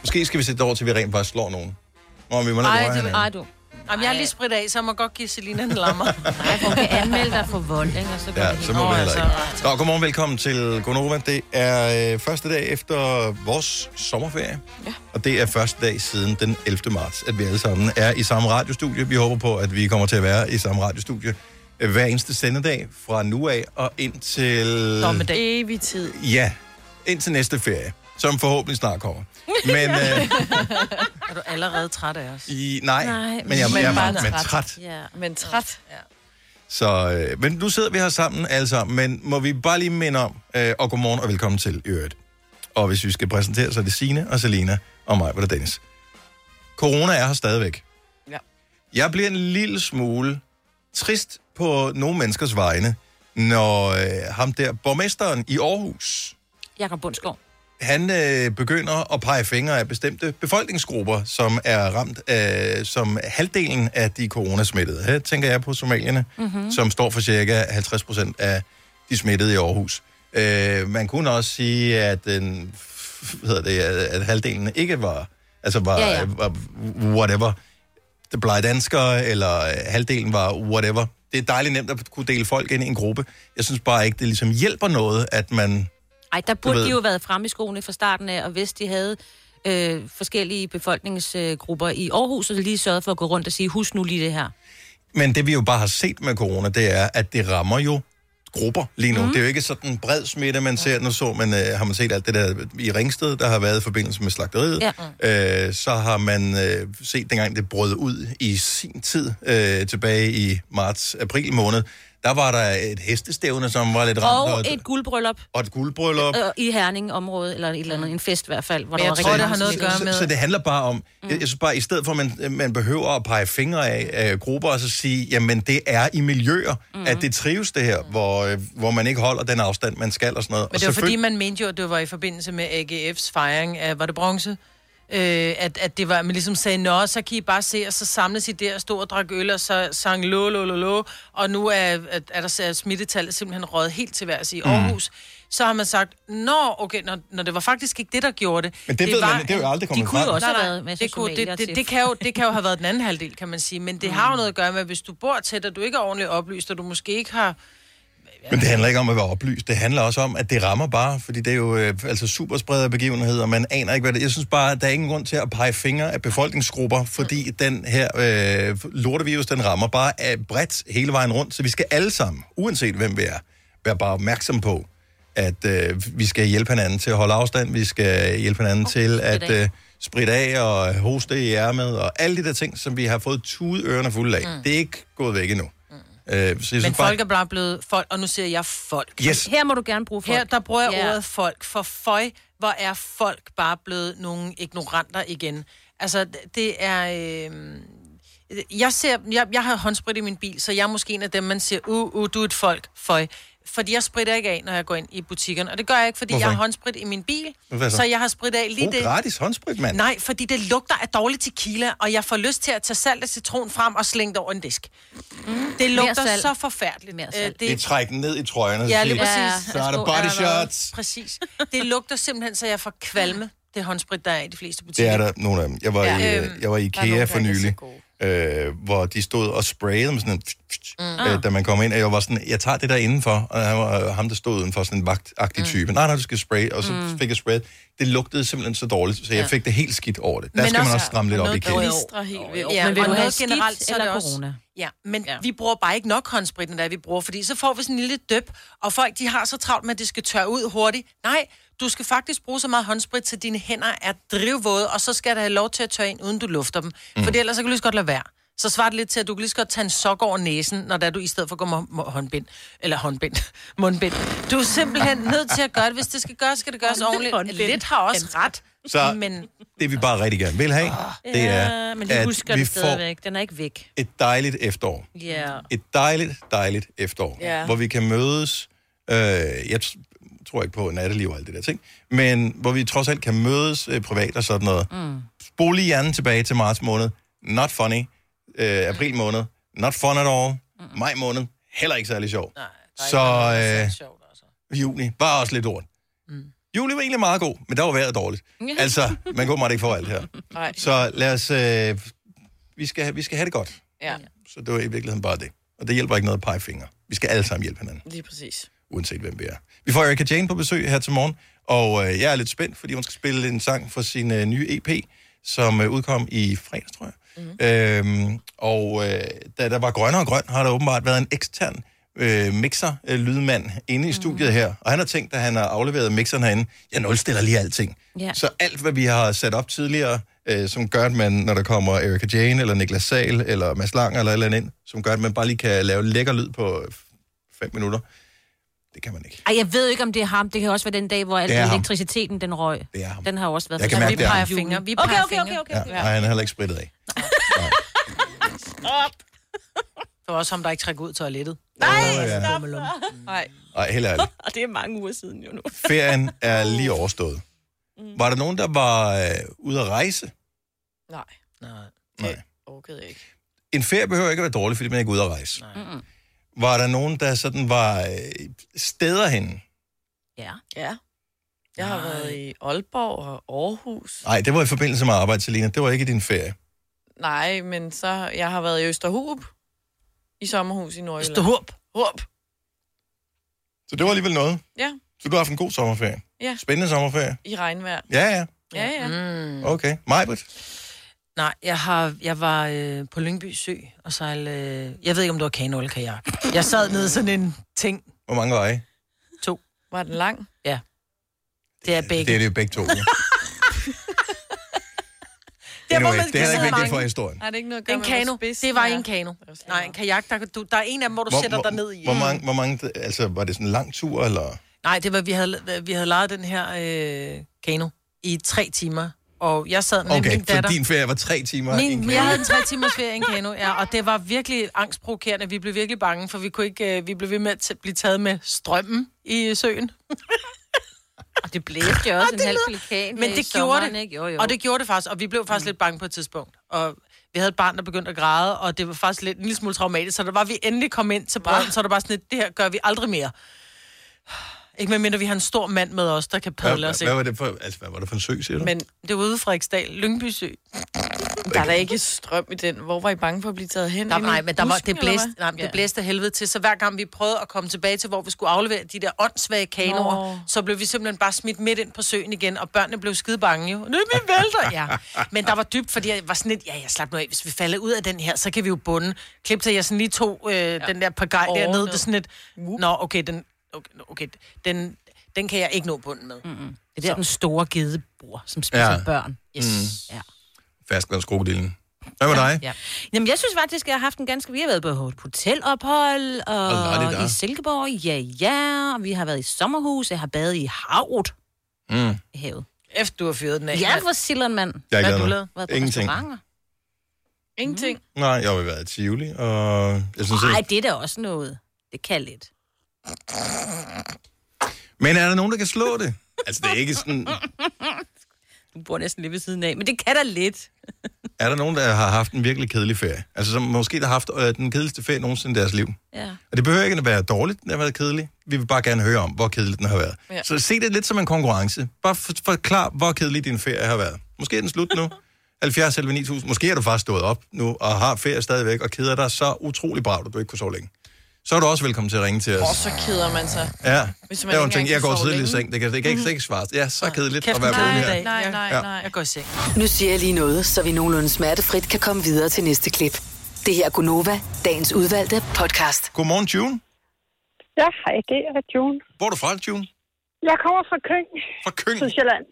S1: Måske skal vi sætte det over til, at vi rent faktisk slår nogen. Nå, men vi må lade
S2: Ej,
S1: røre
S2: det,
S1: hinanden.
S2: ej, du. Jamen, jeg har lige spredt af, så jeg må godt give Selina en lammer. Nej,
S5: hun kan anmelde dig for vold, ikke? Og så går
S1: Ja,
S5: det
S1: så
S5: helt-
S1: må vi
S5: Nå,
S1: heller
S5: altså.
S1: ikke. Nå, godmorgen, velkommen til Gonova. Det er øh, første dag efter vores sommerferie. Ja. Og det er første dag siden den 11. marts, at vi alle sammen er i samme radiostudie. Vi håber på, at vi kommer til at være i samme radiostudie øh, hver eneste sendedag fra nu af og indtil...
S4: Dommedag. Evig tid.
S1: Ja, indtil næste ferie, som forhåbentlig snart kommer. Men øh,
S2: Er du allerede træt af os?
S1: i, nej, nej, men jeg, jeg, jeg er meget men træt.
S4: Ja. Men træt. Ja.
S1: Så, øh, men nu sidder vi her sammen alle sammen, men må vi bare lige minde om, øh, og godmorgen og velkommen til i øvrigt. Og hvis vi skal præsentere, så er det Signe og Selina og mig, hvor der Dennis. Corona er her stadigvæk.
S4: Ja.
S1: Jeg bliver en lille smule trist på nogle menneskers vegne, når øh, ham der, borgmesteren i Aarhus,
S5: Jakob Bundsgaard.
S1: han øh, begynder at pege fingre af bestemte befolkningsgrupper, som er ramt af, som halvdelen af de coronasmittede. Her tænker jeg på somalierne, mm-hmm. som står for cirka 50 procent af de smittede i Aarhus. Øh, man kunne også sige, at, den, hvad hedder det, at- at halvdelen ikke var, altså var,
S5: Ja,
S1: ja,
S5: ja.
S1: ja. var whatever, det blege danskere, eller øh, halvdelen var whatever. Det er dejligt nemt at kunne dele folk ind i en gruppe. Jeg synes bare ikke, det ligesom hjælper noget, at man
S5: Ej, der burde
S1: ved-
S5: de jo have været fremme i skoene fra starten af, og hvis de havde øh, forskellige befolkningsgrupper i Aarhus, så lige sørget for at gå rundt og sige, husk nu lige det her.
S1: Men det vi jo bare har set med corona, det er, at det rammer jo grupper lige nu. Mm. Det er jo ikke sådan en bred smitte, man ser. Nu så man, øh, har man set alt det der i Ringsted, der har været i forbindelse med slagteriet. Ja. Øh, så har man øh, set dengang det brød ud i sin tid, øh, tilbage i marts-april måned. Der var der et hestestævne, som var lidt ramt,
S5: Og et guldbryllup
S1: og et guldbryllup.
S5: øh, i Herning-området, eller et eller andet, en fest i hvert fald, hvor
S2: Men
S5: der
S2: jeg
S5: var
S2: tror,
S5: rigtig
S2: det
S5: mange
S2: har noget at
S5: mennesker.
S2: gøre
S1: så,
S2: med-
S1: så det handler bare om, mm. jeg, jeg synes bare, i stedet for at man, man behøver at pege fingre af, af grupper, og så sige, jamen det er i miljøer, mm. at det trives det her, hvor, øh, hvor man ikke holder den afstand, man skal og sådan noget.
S2: Men det
S1: og
S2: var fordi, man mente jo, at det var i forbindelse med AGF's fejring af, var det bronze? Øh, at, at det var, man ligesom sagde, nå, så kan I bare se, og så samles I der og stod og drak øl, og så sang lå, lå, lå, lå, og nu er, er, er der er smittetallet selvfølgelig røget helt til værs i Aarhus. Mm. Så har man sagt, nå, okay, når, når det var faktisk ikke det, der gjorde det.
S1: Men det ved man- det er jo aldrig
S2: at-
S1: kommet
S2: de kunne
S1: frem.
S2: jo også
S5: Nej,
S2: have
S5: nej,
S2: været med
S5: det
S2: det,
S5: kunne-
S2: kunne, det,
S5: somalier
S2: det,
S5: til-
S2: det, kan jo, det kan jo have været den anden halvdel, kan man sige, men det mm. har jo noget at gøre med, hvis du bor tæt, og du ikke er ordentligt oplyst, og du måske ikke har
S1: Men det handler ikke om at være oplyst. Det handler også om, at det rammer bare, fordi det er jo øh, altså superspreder begivenheder. Man aner ikke, hvad det er. Jeg synes bare, at der er ingen grund til at pege fingre af befolkningsgrupper, fordi den her øh, lortevirus, den rammer bare øh, bredt hele vejen rundt. Så vi skal alle sammen, uanset hvem vi er, være bare opmærksom på, at øh, vi skal hjælpe hinanden til at holde afstand. Vi skal hjælpe hinanden oh, til at
S12: af.
S1: øh, spritte af og hoste i ærmet og alle de der ting, som vi har fået tude ørerne fulde af.
S2: Mm.
S1: Mm. Det er ikke gået væk endnu. Mm. Øh, så jeg synes
S2: Men folk er bare blevet folk, og nu siger jeg folk.
S1: Yes.
S2: Her må du gerne bruge
S5: folk.
S2: Her der bruger jeg
S5: Ja.
S2: ordet folk, for føj, hvor er folk bare blevet nogle ignoranter igen. Altså, d- det er... Øh... Jeg, ser, jeg, jeg har håndsprit i min bil, så jeg er måske en af dem, man siger, uh, uh, du er et folk, føj. Fordi jeg spritter ikke af, når jeg går ind i butikken. Og det gør jeg ikke, fordi
S1: Hvorfor
S2: jeg har
S1: ikke?
S2: håndsprit i min bil.
S1: Hvad så?
S2: Så jeg har sprit af lige
S1: Brug
S2: det.
S1: gratis håndsprit, mand.
S2: Nej, fordi det lugter af dårlig tequila, og jeg får lyst til at tage salt og citron frem og slænge det over en disk. Mm. Det
S3: Mere
S2: lugter
S3: salt.
S2: så forfærdeligt. Øh,
S1: Det er træk den ned i trøjerne. og
S2: Ja,
S1: sige,
S2: lige præcis.
S1: Så er der body shots.
S2: Præcis. Det lugter simpelthen, så jeg får kvalme, det håndsprit, der er i de fleste
S1: Det
S2: butikker.
S1: er der nogle af dem. Jeg var,
S2: Ja.
S1: ja. i, øh, jeg var i
S2: Der er nogle,
S1: IKEA
S2: der
S1: for
S2: ikke er så
S1: nylig, øh, hvor de stod og sprayede med sådan en,
S13: Ah.
S2: Mm.
S1: øh, da man kom ind, og jeg var sådan, jeg tager det der indenfor, og han var, øh, ham, der stod udenfor, sådan en vagtagtig mm. type. Nej, nej, du skal spraye, og så
S2: Mm.
S1: mm. fik jeg sprayet. Det lugtede simpelthen så dårligt, så jeg
S2: Ja.
S1: fik det helt skidt over det. Der skal man også stramme lidt op i IKEA.
S2: helt
S5: vildt.
S2: Ja,
S5: Men vil
S2: og
S5: du have
S2: noget
S5: skidt
S2: generelt, så er
S5: eller
S2: det også-
S5: corona?
S2: Ja, men ja. vi bruger bare ikke nok håndspritten, der vi bruger, fordi så får vi sådan en lille døb, og folk de har så travlt med, at det skal tørre ud hurtigt. Nej, du skal faktisk bruge så meget håndsprit, så dine hænder er drivvåde, og så skal der have lov til at tørre ind, uden du lufter dem. Mm. For ellers så kan du lige så godt lade være. Så svarer det lidt til, at du kan lige så godt tage en sok over næsen, når der du i stedet for går med hå- håndbind. Eller håndbind. Mundbind. Du er simpelthen nødt til at gøre det. Hvis det skal gøres, skal det gøres ordentligt. Lidt har også ret.
S1: Så-
S2: Men
S1: Det vi bare rigtig gerne vil have, det er,
S5: ja, men vi husker
S1: at vi
S5: det
S1: får
S5: stadigvæk. Den er ikke væk.
S1: et dejligt efterår.
S5: Ja.
S1: et dejligt, dejligt efterår,
S5: Ja.
S1: ja. hvor vi kan mødes. Øh, jeg t- tror ikke på natteliv og alt det der ting, men hvor vi trods alt kan mødes øh, privat og sådan noget.
S5: Mm.
S1: Spol lige hjernen tilbage til marts måned. Not funny. Øh, april måned. Not fun at all. Mm. Maj måned. Heller ikke særlig sjov. Nej, så øh, juni var også lidt lort. Mm. Juli var egentlig meget god, men der var vejret dårligt.
S5: Ja.
S1: Altså, man går meget ikke for alt her.
S4: Nej.
S1: Så lad os... Øh, vi, skal, vi skal have det godt.
S4: Ja,
S1: Så det var i virkeligheden bare det. Og det hjælper ikke noget at pege fingre. Vi skal alle sammen hjælpe hinanden,
S4: lige præcis.
S1: uanset hvem vi er. Vi får Erika Jane på besøg her til morgen, og øh, jeg er lidt spændt, fordi hun skal spille en sang fra sin øh, nye EP, som øh, udkom i fredags, tror jeg. Mm-hmm. Øhm, og øh, da der var grønnere og grøn, har der åbenbart været en ekstern øh, mixer-lydmand inde i studiet her. Og han har tænkt, at han har afleveret mixeren herinde, jeg nulstiller lige alting.
S5: Ja.
S1: Så alt, hvad vi har sat op tidligere, øh, som gør, at man, når der kommer Erika Jane, eller Niklas Sal eller Mads Lang, eller et eller andet ind, som gør, at man bare lige kan lave lækker lyd på 5 minutter, det kan man ikke.
S3: Ej, jeg ved jo ikke, om det er ham. Det kan også være den dag, hvor al
S1: Det er ham.
S3: elektriciteten den røg.
S1: Det er ham.
S3: Den har jo også været
S1: Jeg kan
S3: forstærket.
S1: mærke, det er ham. Vi peger
S2: fingre. Vi
S3: okay,
S2: peger
S3: okay, okay, okay.
S1: Ja, ja. Nej, han er heller ikke spritet af.
S2: det var også ham, der ikke trækker ud til toilettet.
S1: Nej, Åh, ja. stop
S4: Nej,
S1: Ej, heller ikke.
S4: og det er mange uger siden jo nu.
S1: Ferien er lige overstået. Var der nogen, der var øh, ude at rejse?
S4: Nej,
S2: Nej.
S1: Nej.
S4: orkede jeg ikke.
S1: En ferie behøver ikke at være dårlig, fordi man ikke er ude at rejse. Nej.
S4: Mm-mm.
S1: Var der nogen, der sådan var øh, steder henne?
S3: Ja.
S4: Ja. Jeg har været i Aalborg og Aarhus.
S1: Nej, det var i forbindelse med arbejde, Selina. Det var ikke i din ferie.
S4: Nej, men så jeg har været i Østerhub. I sommerhus i Nordjylland.
S2: Østerhub?
S4: Hub.
S1: Så det var alligevel noget.
S4: Ja,
S1: Så du har haft en god sommerferie.
S4: ja.
S1: Spændende sommerferie.
S4: I regnvejr.
S1: Ja, ja.
S4: Ja, ja. Mm.
S1: Okay. Majbert?
S2: Nej, jeg, har, jeg var øh, på Lyngby Sø og sejlede... Øh, jeg ved ikke, om det var kano eller kajak. Jeg sad nede i sådan en ting.
S1: Hvor mange var I?
S2: To.
S4: Var den lang?
S2: Ja. Det er begge.
S1: Det er det jo begge to. ja.
S2: Der, hvor
S1: Anyway,
S2: man
S1: det er heller
S2: kan sidde
S1: ikke vigtigt for
S2: mange.
S1: historien.
S4: Har det ikke noget at gøre
S2: En
S4: med, hvor
S2: kano.
S4: spids
S2: Det var
S4: den
S2: i
S4: er?
S2: en kano. Nej, en kajak. Der, kan du, der er en af dem, hvor du
S1: Hvor-
S2: sætter
S1: hvor-
S2: dig ned i. øh,
S1: Hvor mange, hvor mange, altså, var det sådan en lang tur, eller?
S2: Nej, det var, vi havde, vi havde lejet den her øh, kano i tre timer. Og jeg sad med
S1: Okay,
S2: min
S1: så
S2: datter.
S1: din ferie var tre timer. i en
S2: Min,
S1: kano.
S2: jeg havde en tre timers ferie i en kano, ja, og det var virkelig angstprovokerende. Vi blev virkelig bange, for vi, kunne ikke, øh, vi blev ved med at t- blive taget med strømmen i øh, søen. og Ah, det blæste
S3: jo også en halv pelikan
S2: Men
S3: i
S2: det gjorde
S3: sommeren,
S2: det,
S3: ikke? Jo, jo.
S2: og det gjorde det faktisk, og vi blev faktisk mm. lidt bange på et tidspunkt. Og vi havde et barn, der begyndte at græde, og det var faktisk lidt, en lille smule traumatisk, så der var vi endelig kom ind til brønden, så var det bare sådan lidt, det her gør vi aldrig mere. Ikke medmindre vi har en stor mand med os, der kan padle
S1: hvad,
S2: os
S1: hvad,
S2: ind.
S1: hvad, var det for, altså, hvad var det for en sø, siger du?
S2: Men det var ude fra Eksdal, Lyngby Sø.
S4: Der er da ikke strøm i den. Hvor var I bange for at blive taget hen?
S2: Der,
S4: Inde i
S2: nej, men der var,
S4: busken,
S2: det,
S4: eller
S2: blæste,
S4: hvad?
S2: nej, men det blæste af helvede til, så hver gang vi prøvede at komme tilbage til, hvor vi skulle aflevere de der åndssvage kanoer,
S4: Nå.
S2: så blev vi simpelthen bare smidt midt ind på søen igen, og børnene blev skide bange jo. Nu vi vælter, ja. Men der var dybt, fordi jeg var sådan lidt, ja, jeg slap nu af, hvis vi falder ud af den her, så kan vi jo bunde. Klip til, jeg sådan lige tog øh, ja. den der pagaj
S4: Åh,
S2: dernede,
S4: ned.
S2: det er sådan lidt, nå, okay, den, okay, okay den, den kan jeg ikke nå bunden med. Mm-hmm.
S3: Det er der, den store gede bor, som spiser
S1: Ja.
S3: ja. børn.
S1: Yes.
S3: Mm. Ja.
S1: Fastlandskrokodillen. Hvad med dig?
S3: Ja. Jamen, jeg synes faktisk, at jeg har haft en ganske... Vi har været på et hotelophold, og,
S1: Og la-di-da.
S3: og i Silkeborg, ja, ja, og vi har været i sommerhus, jeg har badet i havet.
S1: Mm.
S3: I havet.
S2: Efter du har fyret den af.
S3: Jeg var Sillermand. mand.
S1: Jeg har ikke
S3: Hvad har
S1: lavet
S3: du
S1: noget.
S3: lavet? Været på
S1: Ingenting.
S3: restauranter?
S4: Ingenting.
S1: Nej, jeg har jo været i Tivoli, og jeg synes,
S3: Nej,
S1: at...
S3: det er da også noget. Det kan lidt.
S1: Men er der nogen, der kan slå det? Altså, det er ikke sådan...
S5: Du bor næsten lige ved siden af, men det kan da lidt.
S1: Er der nogen, der har haft en virkelig kedelig ferie? Altså, som måske har haft øh, den kedeligste ferie nogensinde i deres liv?
S5: Ja.
S1: Og det behøver ikke at være dårligt, den har været kedelig. Vi vil bare gerne høre om, hvor kedelig den har været. Ja.
S5: Ja.
S1: Så se det lidt som en konkurrence. Bare for, forklar, hvor kedelig din ferie har været. Måske er den slut nu. 70 selv 9000. Måske er du faktisk stået op nu og har ferie stadigvæk og keder dig så utrolig bragt, at du ikke kunne sove længe. Så er du også velkommen til at ringe til os.
S4: Åh, så keder man sig.
S1: Ja,
S4: Hvis
S1: Hvis
S4: man
S1: man der var en
S4: ikke
S1: ting,
S4: engang
S1: jeg går
S4: kan sove
S1: tidligt i
S4: længe. Mhm.
S1: seng. Det kan, det kan ikke, ikke svare. Ja, så kedeligt at være
S2: nej,
S1: vågen her.
S2: nej, nej,
S4: nej, nej.
S2: Jeg går i seng.
S6: Nu siger jeg lige noget, så vi nogenlunde smertefrit kan komme videre til næste klip. Det her er Gunova, dagens udvalgte podcast.
S1: Godmorgen, June.
S12: Ja, hej, det er June.
S1: Hvor er du fra, June?
S12: Jeg kommer fra Køng.
S1: Fra Køng?
S12: Sydsjælland.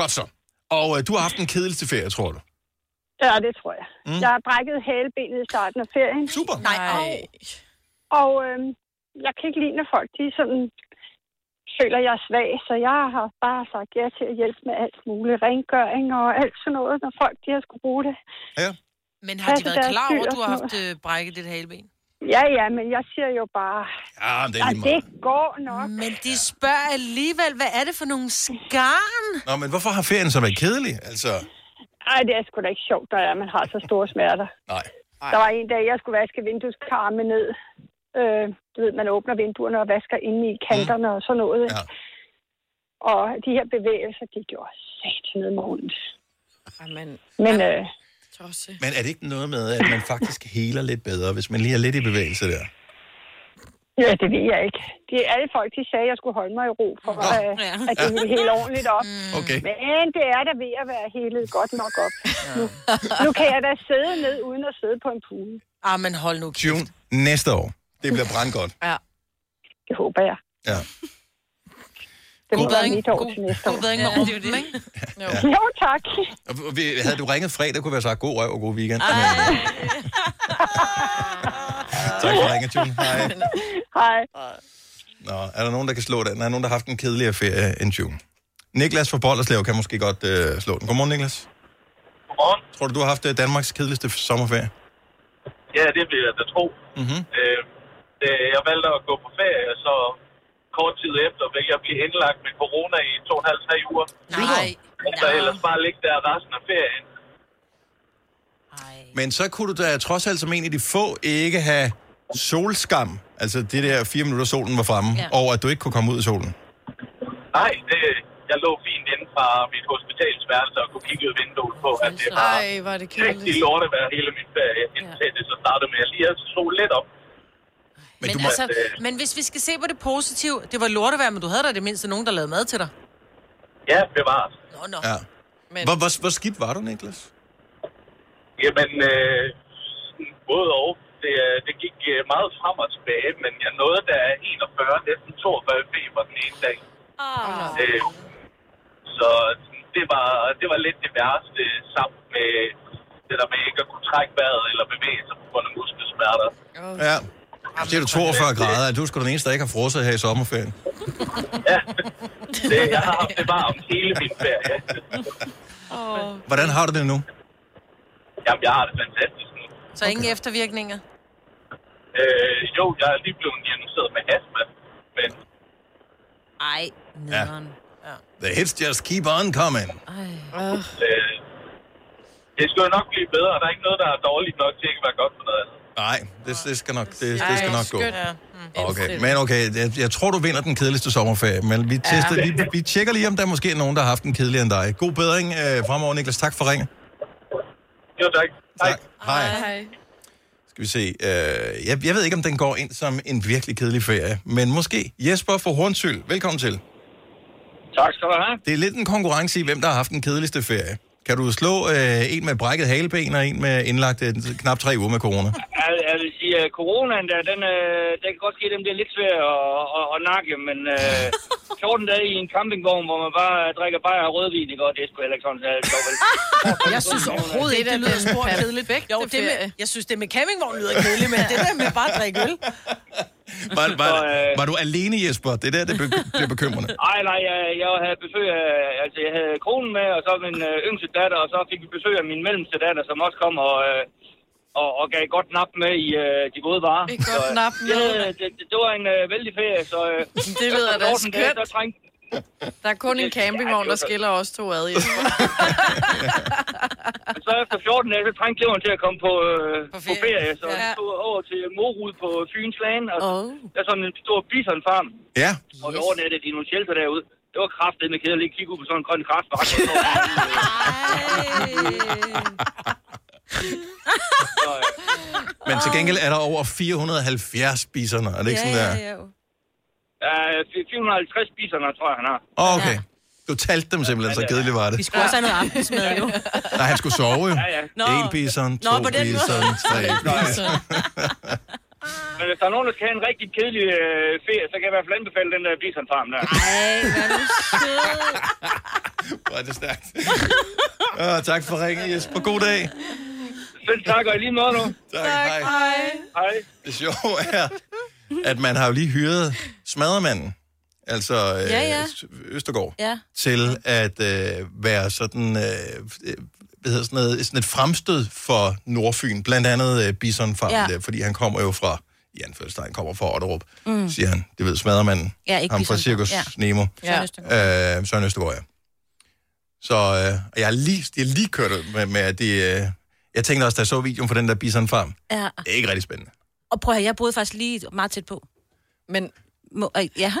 S1: Godt så. Og øh, du har haft en kedeligste ferie, tror du?
S12: Ja, det tror jeg.
S1: Mm.
S12: Mm. Jeg har brækket halebenet i starten af ferien.
S1: Super.
S12: Nej. Og, og øhm, jeg kan ikke lide, når folk de sådan føler, jeg er svag, så jeg har bare sagt ja til at hjælpe med alt muligt. Rengøring og alt sådan noget, når folk de har skulle bruge det.
S2: Men har de
S12: Passe
S2: været
S12: deres
S2: klar over,
S12: dyr
S2: at
S12: og
S2: du har
S12: sådan
S2: haft øh, brækket dit haleben?
S12: Ja, ja, men jeg siger jo bare,
S1: Ja, det
S12: "Ej,
S1: er lige
S12: det
S1: meget.
S12: går nok.
S2: Men de spørger alligevel, hvad er det for nogle skarn?
S1: Nå, men hvorfor har ferien så været kedelig? Altså,
S12: Ej, det er sgu da ikke sjovt, når det er, man har så store smerter.
S1: nej.
S12: Der var en dag, jeg skulle vaske vindueskarme ned. Øh, du ved, man åbner vinduerne og vasker inde i kanterne
S2: Mm.
S12: og sådan noget. Ja. Og de her bevægelser, de gjorde satan ned med ondt.
S4: Jamen,
S12: Men øh,
S4: Ah, tosse.
S1: Men er det ikke noget med, at man faktisk heler lidt bedre, hvis man lige er lidt i bevægelse der?
S12: ja, det ved jeg ikke. De, alle folk, de sagde, at jeg skulle holde mig i ro for, øh,
S5: ja. Mm.
S12: at det ville helt ordentligt op.
S1: Okay.
S12: Men det er da ved at være helet godt nok op. Nu, nu kan jeg da sidde ned uden at sidde på en pude.
S2: Ah, men hold nu kæft.
S1: June, næste år. Det bliver brandgodt.
S4: Ja.
S12: Det håber jeg.
S1: Ja.
S12: Det må
S2: God
S12: være
S2: bedring.
S12: mit år til næste år.
S2: God bedring med
S5: Ja, det er jo
S2: rumpen, ikke?
S12: Jo, tak.
S1: Og og vi- Havde du ringet fredag, kunne vi have sagt god røv og god
S2: Ah.
S1: weekend. tak for ringen, June. Hej.
S12: Hej.
S1: Nå, er der nogen, der kan slå den? Er der nogen, der har haft en kedeligere ferie end June? Niklas fra Bollerslev kan måske godt øh, slå den. Godmorgen, Niklas.
S13: Godmorgen.
S1: Tror du, du har haft øh, Danmarks kedeligste f- sommerferie?
S13: Ja, det vil jeg da tro.
S1: Mhm.
S13: Øh, øh, jeg valgte at gå på ferie, og så kort tid efter vil jeg blive indlagt med corona i to og en halv, tre uger.
S2: Nej.
S13: Og så ellers bare ligge der resten af ferien.
S1: Men så kunne du da trods alt som en af de få ikke have solskam. Altså det der fire minutter solen var fremme, ja. over at du ikke kunne komme ud i solen.
S13: Nej, det, jeg lå fint inde fra mit hospitalsværelse og kunne kigge ud vinduet på, at det var
S4: Ej, hvor er det
S13: rigtig
S4: kedeligt.
S13: lort at være hele min ferie, indtil det så startede med, at jeg lige havde solet lidt op. øh,
S2: Men, men, altså, men hvis vi skal se på det positive, det var lortevejr, men du havde da det mindste nogen, der lavede mad til dig.
S13: Ja, bevares.
S2: Nå, nå.
S1: Ja.
S4: Men-
S1: Hvor, hvor, hvor skidt var du, Niklas?
S13: Jamen, øh, sådan både og. Det, øh, det gik øh, meget frem og tilbage, men jeg nåede der 41, næsten 42 feber den ene dag.
S5: Ah.
S13: Øh, så sådan, det var, det var lidt det værste sammen med det der med ikke at kunne trække vejret eller bevæge sig på grund af muskelsmerter.
S1: Ja. Så siger du 42 grader, at du er sgu den eneste, der ikke har frosset her i sommerferien.
S13: Det, jeg har haft det varmt hele min ferie.
S1: Hvordan har du det nu?
S13: Jamen, jeg har det fantastisk nu.
S2: Så ingen eftervirkninger.
S13: Øh, jo, jeg er lige blevet diagnosticeret med astma, men
S5: Ej, nederen.
S1: The hits just keep on coming.
S13: øh, det skal jo nok blive bedre. Der er ikke noget, der er dårligt nok til ikke at være godt for noget andet.
S1: Nej, det, det skal nok, det, det skal nok gå.
S2: Ja.
S5: mm.
S1: Okay, men okay, jeg, jeg tror, du vinder den kedeligste sommerferie, men vi, tester, ja. vi, vi tjekker lige, om der måske er nogen, der har haft en kedeligere end dig. God bedring øh, fremover, Niklas. Tak for ringen.
S13: Jo, tak.
S1: Hej. Hej.
S4: Hej.
S1: Skal vi se. Øh, jeg, jeg ved ikke, om den går ind som en virkelig kedelig ferie, men måske. Jesper fra Hornsøl, velkommen til.
S14: Tak skal du have.
S1: Det er lidt en konkurrence i, hvem der har haft den kedeligste ferie. Kan du slå øh, en med brækket haleben og en med indlagt øh, knap tre uger med corona?
S14: Jeg- Jeg vil sige, at coronaen der, den, øh, den kan godt give dem, det er lidt svært at, at, at nakke, men øh, 14 dage i en campingvogn, hvor man bare drikker bare og rødvin, det går, det er sgu heller ikke sådan, så er det dog vel.
S2: Jeg synes overhovedet ikke, det lyder spor kedeligt. Jo, det med, jeg synes, det med campingvogn lyder kedeligt, men det der med bare at drikke øl.
S1: Var, var,
S14: øh,
S1: var du alene, Jesper? Det er der, det er bek- det er bekymrende.
S14: Ej, nej, jeg, jeg havde besøg af, altså jeg havde kronen med, og så min øh, yngste datter, og så fik vi besøg af min mellemste datter, som også kom og, øh, og, og gav et godt nap med i øh, de gode varer.
S4: Et godt
S14: øh,
S4: nap med.
S14: det, det, det, det var en øh, vældig ferie, så... Øh,
S4: Det lyder
S14: efter
S4: da
S14: 14 dage,
S4: skønt.
S14: så trængte
S4: Der er kun en campingvogn, der skiller os to ad, Jesper.
S14: Men så efter 14 dage, så trængte leveren til at komme på, øh, på, ferie. på ferie. Så
S4: Ja.
S14: ja. tog jeg over til Morud på Fyns Lane, og oh. der er sådan en stor bisonfarm.
S1: Ja.
S14: Og yes. overnattede de i nogle shelter derude. Det var kraftet med kedeligt at ligge og kigge ud på sådan en grøn græsbakke. Så, øh,
S1: Men til gengæld er der over 470 spiserne. Er det ikke sådan, der?
S14: ja. Uh, 450 biserne, tror jeg, han har.
S1: Åh, okay. Du talte dem simpelthen, så kedeligt var det.
S14: også have noget aftensmad, jo.
S1: Nej, han skulle sove jo.
S14: Ja, ja. Nå.
S1: En bison,
S14: Nå,
S1: to
S14: på den måde.
S1: bison, tre
S14: Nå, ja.
S1: bison.
S14: Men hvis der er nogen, der skal have en rigtig kedelig øh, ferie, så kan jeg i hvert fald anbefale den der bisonfarm der.
S1: Ej, hvor er du Hvor er det stærkt. Åh, tak for ringen, Jesper. God dag.
S14: Selv tak, og i lige måde nu.
S1: Tak, hej.
S14: Hej.
S1: Det sjove er, at man har jo lige hyret smadermanden, altså øh,
S3: Ja, ja.
S1: Østergaard,
S3: Ja.
S1: til at øh, være sådan, øh, øh, hvad hedder sådan, noget, sådan et fremstød for Nordfyn, blandt andet øh, Bisonfarm,
S3: Ja.
S1: ja. der, fordi han kommer jo fra, i anførselstegn, kommer fra Otterup,
S3: Mm.
S1: mm. siger han. Det ved smadermanden.
S3: Ja, ikke
S1: Ham fra
S3: Bison.
S1: Cirkus
S3: Ja.
S1: ja. Nemo.
S3: Søren
S1: Øh, Søren Østergaard, ja. Så øh, og jeg har lige, jeg har lige kørt ud med, med at det... Øh, jeg tænkte også, da jeg så videoen for den der Bisonfarm,
S3: Ja.
S1: det er ikke rigtig spændende.
S3: Og prøv at høre, jeg boede faktisk lige meget tæt på.
S4: Men...
S3: Må, øh, ja.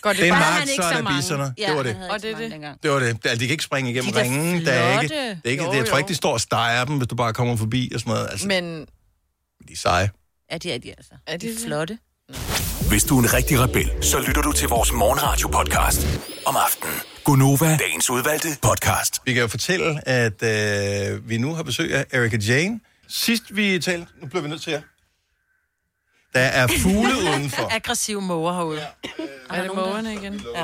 S4: Går
S1: det Det er bare? Mark, så er det bisserne. Det var det.
S3: Og det er det.
S1: Det var det. Altså, de kan ikke springe igennem
S3: De er da
S1: ringen. Der er ikke,
S4: flotte.
S1: det er ikke,
S4: Jo,
S1: det, jeg tror
S4: jo.
S1: ikke, de står og steger dem, hvis du bare kommer forbi og sådan noget. Altså, Men...
S4: Men
S1: de er seje.
S3: Ja, de er de altså.
S4: Er de
S3: flotte?
S15: Hvis du er en rigtig rebel, så lytter du til vores morgenradio-podcast om aftenen. Gunova, dagens udvalgte podcast.
S1: Vi kan jo fortælle, at øh, vi nu har besøg af Erika Jane. Sidst vi talte, nu bliver vi nødt til at... Der er fugle udenfor.
S2: Aggressive måger herude. Ja.
S4: er det mågerne igen?
S2: Ja.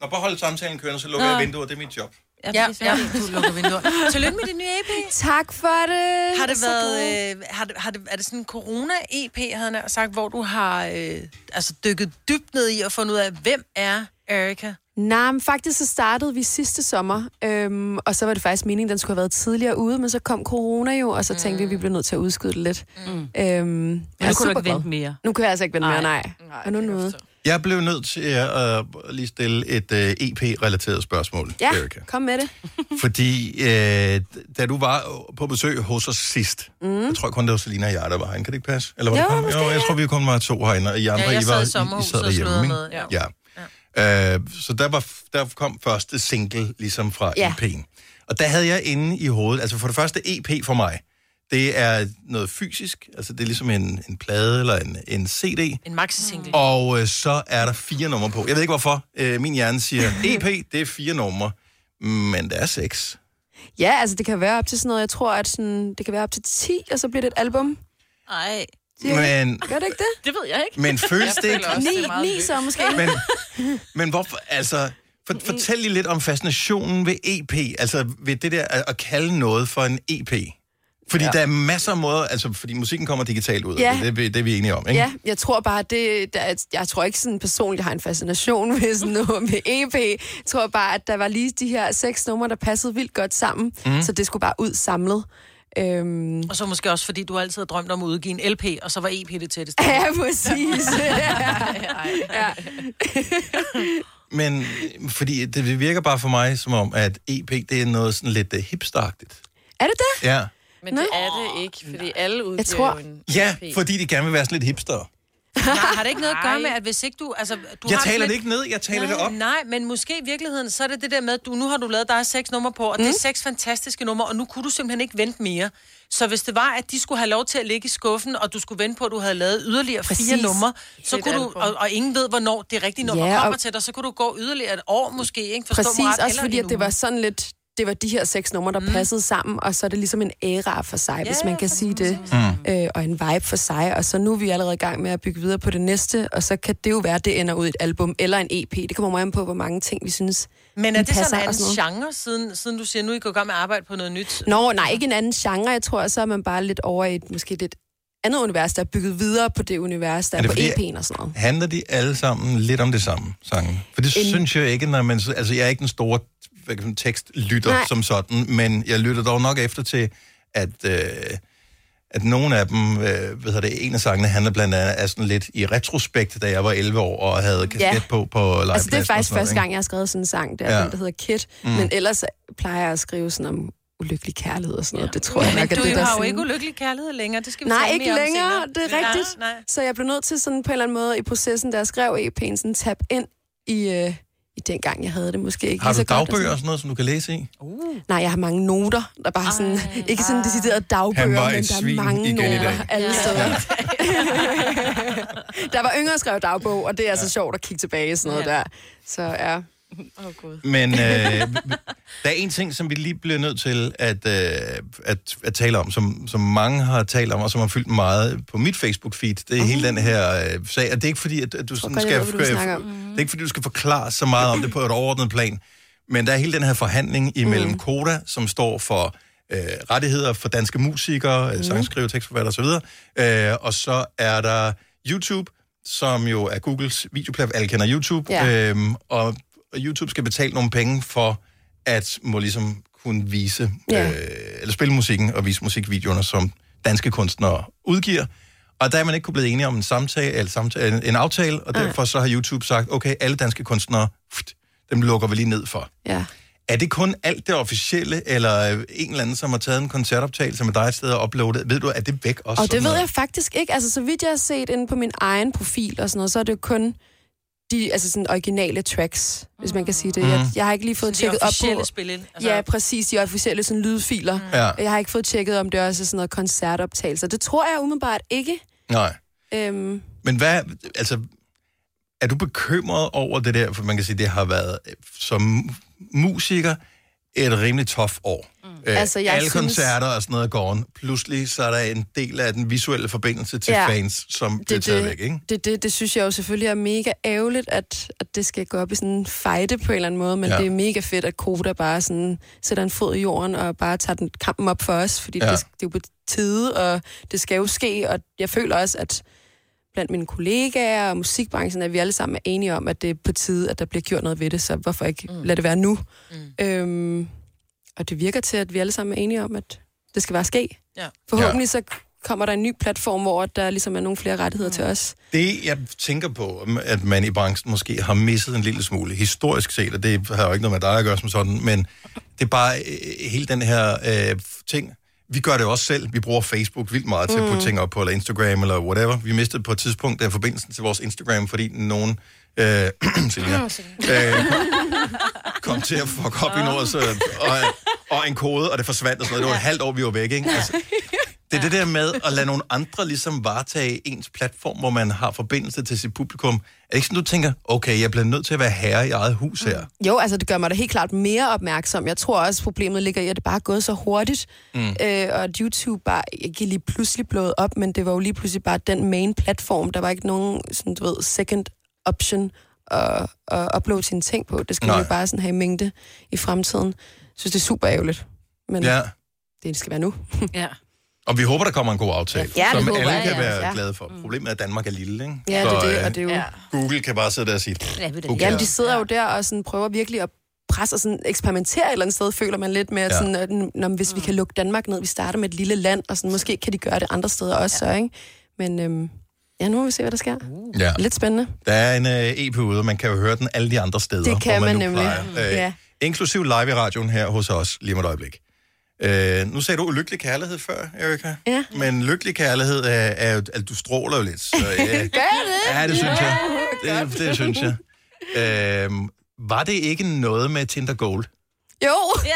S1: Når bare holder samtalen kørende, så lukker
S2: Nå.
S1: jeg vinduer. Det er mit job.
S3: Ja,
S2: ja, ja, du lukker vinduer. Tillykke med din nye EP.
S16: Tak for det.
S2: Har det
S16: Så
S2: været, øh, har det, har det, er det sådan en corona-EP, havde jeg nær sagt, hvor du har øh, altså dykket dybt ned i og fundet ud af, hvem er Erika?
S16: Nej, men faktisk så startede vi sidste sommer, øhm, og så var det faktisk meningen, den skulle have været tidligere ude, men så kom corona jo, og så tænkte vi, at vi blev nødt til at udskyde det lidt. Mm. Øhm, jeg er
S3: kunne du ikke
S16: superglad.
S3: vente mere.
S16: Nu kan jeg altså ikke vente
S3: Nej.
S16: mere, nej. nej og nu noget.
S1: Jeg blev nødt til at øh, lige stille et øh, EP-relateret spørgsmål,
S16: Ja,
S1: Erika.
S16: kom med det.
S1: Fordi øh, da du var på besøg hos os sidst, mm. jeg tror kun, det var Selina og jeg, der var herinde. Kan det ikke passe? Eller var
S16: Jo,
S1: det kun?
S16: måske,
S1: jo, jeg tror, vi kun var to herinde, og I andre,
S2: Ja, jeg
S1: I
S2: sad i
S1: var,
S2: sommerhuset og
S1: derhjemme,
S2: sludrede
S1: ikke?
S2: med,
S1: Ja. ja. Øh, så der, var, der kom første single ligesom fra
S16: Ja.
S1: ja. EP'en. Og der havde jeg inde i hovedet, altså for det første EP for mig, det er noget fysisk, altså det er ligesom en, en plade eller en, en CD.
S2: En maxi-single.
S1: Og øh, så er der fire numre på. Jeg ved ikke hvorfor. Øh, min hjerne siger, EP, det er fire numre, men der er seks.
S16: Ja, altså det kan være op til sådan noget, jeg tror, at sådan, det kan være op til 10, og så bliver det et album.
S3: Nej.
S1: Men-
S16: Gør det ikke det?
S3: Det ved jeg ikke.
S1: Men føles det ikke...
S16: Ni, ni så måske.
S1: Men, men hvorfor, altså... For, fortæl lige lidt om fascinationen ved EP, altså ved det der at, at kalde noget for en EP. Fordi ja. der er masser af måder, altså fordi musikken kommer digitalt ud,
S16: Ja.
S1: ja. det, er vi- det er vi enige om, ikke?
S16: Ja, jeg tror bare, det, der, er- jeg tror ikke sådan personligt, jeg har en fascination med sådan noget med EP. Jeg tror bare, at der var lige de her seks numre, der passede vildt godt sammen, mm.
S2: Mhm.
S16: så det skulle bare ud samlet. Øhm,
S2: Og så måske også, fordi du altid har drømt om at udgive en LP, og så var EP det tætteste.
S16: Ja, præcis. ja.
S1: Men øh, fordi det virker bare for mig som om, at EP, det er noget sådan lidt uh, hipsteragtigt.
S16: Er det det?
S1: Ja.
S4: Men det er det ikke, fordi alle udgiver
S16: tror-
S4: jo en
S1: ja,
S4: EP.
S1: fordi de gerne vil være sådan lidt hipster.
S2: Nej, har det ikke noget at gøre med, at hvis ikke du... Altså, du
S1: Jeg
S2: har
S1: taler
S2: lidt-
S1: det ikke ned, jeg taler
S2: nej,
S1: det op.
S2: Nej, men måske i virkeligheden, så er det det der med, at du, nu har du lavet dig seks numre på, og mm. det er seks fantastiske numre, og nu kunne du simpelthen ikke vente mere. Så hvis det var, at de skulle have lov til at ligge i skuffen, og du skulle vente på, at du havde lavet yderligere Præcis. fire
S16: Præcis.
S2: numre, så
S16: Et
S2: kunne du,
S16: album.
S2: og, og ingen ved, hvornår det rigtige nummer
S16: Ja,
S2: ja,
S16: og-
S2: kommer til dig, så kunne du gå yderligere et år måske, ikke? Forstå mig
S16: Præcis,
S2: ret,
S16: også
S2: eller
S16: fordi
S2: en
S16: at det
S2: uge.
S16: var sådan lidt, det var de her seks numre, der mm. passede sammen, og så er det ligesom en æra for sig, hvis man kan sige det,
S17: Mm.
S16: øh, og en vibe for sig, og så nu er vi allerede i gang med at bygge videre på det næste, og så kan det jo være, at det ender ud i et album eller en EP. Det kommer meget an på, hvor mange ting vi synes,
S2: Men er
S16: de
S2: det
S16: passer
S2: sådan en
S16: og
S2: anden
S16: noget.
S2: genre, siden, siden du siger, nu I går i gang med at arbejde på noget nyt?
S16: Nå, nej, ikke en anden genre. Jeg tror, så er man bare lidt over i et måske lidt andet univers, der er bygget videre på det univers, der er, er på EP'en og sådan noget.
S1: handler de alle sammen lidt om det samme, sangen? For det
S16: En-
S1: synes jeg ikke, når man... Altså, jeg er ikke den store hvad kan man, tekstlytter
S16: Nej.
S1: Nej. som sådan, men jeg lytter dog nok efter til, at, øh, at nogle af dem, øh, hvad hedder det, en af sangene handler blandt andet af sådan lidt i retrospekt, da jeg var 11 år og havde kasket
S16: Ja.
S1: ja. på på legepladsen.
S16: Altså, det er
S1: og
S16: faktisk
S1: sådan noget,
S16: første
S1: ikke?
S16: gang, jeg har skrevet sådan en sang, der, ja.
S1: Ja.
S16: den, der hedder Kid. Mm.
S1: Mm.
S16: Men ellers plejer jeg at skrive sådan om ulykkelig kærlighed og sådan noget. Det tror jeg
S2: Men
S16: nok, at
S2: du
S16: det der
S2: har jo
S16: sådan-
S2: ikke ulykkelig kærlighed længere, det skal vi
S16: Nej,
S2: tale
S16: ikke
S2: mere om
S16: længere.
S2: senere.
S16: Det er rigtigt.
S2: Nej, nej.
S16: Så jeg blev nødt til sådan på en eller anden måde i processen, da jeg skrev EP'en, sådan tab ind i, øh, i den gang, jeg havde det måske ikke.
S1: Har
S16: lige
S1: du
S16: så godt og
S1: dagbøger og
S16: sådan
S1: sådan noget, som du kan læse i? Uh.
S16: noget. Nej, jeg har mange noter, der bare sådan, ikke sådan deciderede dagbøger,
S1: Han
S16: men
S1: var
S16: der
S1: et
S16: er
S1: svin
S16: mange
S1: igen i
S16: noter
S1: dag.
S16: alle
S1: Ja.
S16: steder. der var yngre, der skrev dagbog, og det er altså sjovt at kigge tilbage i sådan noget der. Så ja. Åh, oh, Gud.
S1: Men øh, der er en ting, som vi lige bliver nødt til at, øh, at, at tale om, som, som mange har talt om, og som har fyldt meget på mit Facebook-feed. Det er hele den her øh, sag, og det er ikke fordi, at, at du sådan
S16: godt, jeg
S1: skal...
S16: ved, hvad du snakker om.
S1: det er ikke fordi, du skal forklare så meget om det på et overordnet plan, men der er hele den her forhandling imellem mm. Koda, som står for øh, rettigheder for danske musikere, mm. sangskriver, tekstforfatter osv., øh, og så er der YouTube, som jo er Googles videoplatform. Alle kender YouTube.
S18: Ja.
S1: Øhm, og, og YouTube skal betale nogle penge for, at må ligesom kunne vise,
S18: Ja.
S1: ja. øh, eller spille musikken og vise musikvideoerne, som danske kunstnere udgiver. Og der er man ikke kunne blive enige om en, samtale, eller samtale, en, en aftale, og derfor så har YouTube sagt, okay, alle danske kunstnere, pft, dem lukker vi lige ned for.
S16: Ja.
S1: Er det kun alt det officielle, eller øh, en eller anden, som har taget en koncertoptagelse med dig et sted og uploadet? Ved du, er det væk også?
S16: Og det
S1: sådan
S16: ved
S1: noget?
S16: jeg faktisk ikke. Altså, så vidt jeg har set inde på min egen profil og sådan noget, så er det jo kun de altså sådan originale tracks, hvis man kan sige det. Jeg,
S1: Mm.
S16: jeg har ikke lige fået
S2: de
S16: tjekket op på...
S2: officielle spil, ikke?
S16: altså... Ja, præcis. De officielle sådan, lydfiler.
S1: Ja.
S16: Jeg har ikke fået tjekket, om det også er sådan noget koncertoptagelser. Det tror jeg umiddelbart ikke.
S1: Nej.
S16: Øhm,
S1: Men hvad, altså, er du bekymret over det der, for man kan sige, det har været øh, som musiker et rimelig tof år. Mm. Øh,
S16: Altså,
S1: altså,
S16: jeg
S1: jeg alle
S16: synes-
S1: synes... koncerter og sådan noget går on. Pludselig så er der en del af den visuelle forbindelse til
S16: Ja.
S1: ja. fans, som det, bliver taget væk, ikke?
S16: Det, det, det synes jeg jo selvfølgelig er mega ærgerligt, at, at det skal gå op i sådan en fejde på en eller anden måde, men ja.
S1: Ja.
S16: det er mega fedt, at Koda bare sådan sætter en fod i jorden og bare tager den kampen op for os, fordi ja.
S1: Ja.
S16: det, det er jo på tide, og det skal jo ske, og jeg føler også, at blandt mine kollegaer og musikbranchen, at vi alle sammen er enige om, at det er på tide, at der bliver gjort noget ved det, så hvorfor ikke mm. lade det være nu? Mm. Øhm, og det virker til, at vi alle sammen er enige om, at det skal bare ske.
S2: Ja.
S16: Forhåbentlig så kommer der en ny platform, hvor der ligesom er nogle flere rettigheder til os.
S1: Det, jeg tænker på, at man i branchen måske har misset en lille smule, historisk set, og det har jo ikke noget med dig at gøre som sådan, men det er bare øh, hele den her øh, ting. Vi gør det også selv. Vi bruger Facebook vildt meget til at
S18: Mm.
S1: putte ting op på, eller Instagram, eller whatever. Vi mistede på et tidspunkt den forbindelsen til vores Instagram, fordi nogen... Øh, Selina, øh, kom til at fuck
S16: Ah.
S1: op i noget, så, og, og en kode, og det forsvandt og sådan noget. Det var et halvt år, vi var væk, ikke? Altså, det er det der med at lade nogle andre ligesom varetage ens platform, hvor man har forbindelse til sit publikum. Er det ikke sådan, du tænker, okay, jeg bliver nødt til at være herre i eget hus her?
S16: Jo, altså det gør mig da helt klart mere opmærksom. Jeg tror også, problemet ligger i, at det bare er gået så hurtigt, mm.
S1: Mm.
S16: øh, og at YouTube bare ikke lige pludselig blået op, men det var jo lige pludselig bare den main platform. Der var ikke nogen sådan, du ved, second option at, at uploade sine ting på. Det skal man
S1: Nej.
S16: jo bare sådan have i mængde i fremtiden. Jeg synes, det er super ærgerligt, men ja.
S1: Ja,
S16: det skal være nu.
S5: ja.
S1: og vi håber, der kommer en god aftale,
S16: Ja, det
S1: som
S16: håber
S1: alle
S16: jeg,
S1: kan
S16: ja.
S1: være
S16: Ja. Mm.
S1: glade for. Problemet er, at Danmark er lille, ikke? øh,
S16: Ja, det er det, og det er jo- Ja.
S1: Google kan bare sidde der og sige, "Pff,
S16: Ja, ved det.
S1: who
S16: Jamen,
S1: cares?"
S16: de sidder jo der og sådan prøver virkelig at presse og sådan eksperimentere et eller andet sted, føler man lidt med, at
S1: Ja.
S16: sådan, at, n- nå, men hvis vi kan lukke Danmark ned, vi starter med et lille land, og sådan, måske kan de gøre det andre steder også, så, ikke? Men øhm, ja, nu må vi se, hvad der sker.
S1: Ja.
S16: Uh. Lidt spændende.
S1: Der er en øh, EP ude, og man kan jo høre den alle de andre steder,
S16: Det kan
S1: hvor man,
S16: man
S1: nu
S16: nemlig.
S1: plejer. Øh,
S16: Ja.
S1: Inklusiv live i radioen her hos os, lige om et øjeblik. Øh, nu sagde du ulykkelig kærlighed før, Erika.
S16: Ja.
S1: Men lykkelig kærlighed er, er jo, at du stråler jo lidt. Så, Øh, ja. Ja, det synes jeg. Det, det synes jeg. Øhm, var det ikke noget med Tinder Gold?
S16: Jo. Ja.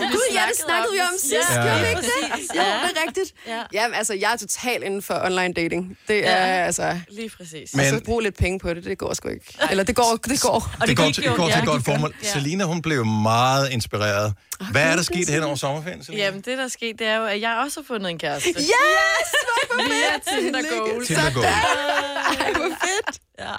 S16: Gud, ja, det snakkede vi om sidst,
S1: Ja.
S16: ja. gjorde vi
S1: Ja,
S16: ikke
S5: præcis.
S16: det? Jo,
S5: Ja.
S16: det er rigtigt. Ja. Jamen, altså, jeg er totalt inden for online dating. Det
S4: Ja.
S16: er, altså...
S4: Lige præcis.
S16: Men... Altså, brug lidt penge på det, det går sgu ikke. Eller det går, det går.
S1: det, går, til, det går til et godt formål. Ja. Selina, hun blev meget inspireret. Hvad er der sket hen over sommerferien, Selina?
S4: Jamen, det der er sket, det er jo, at jeg også har fundet en kæreste.
S16: Yes!
S4: Hvor fedt! Via Tinder Gold.
S1: Tinder Gold.
S4: Ej, hvor fedt! Ja.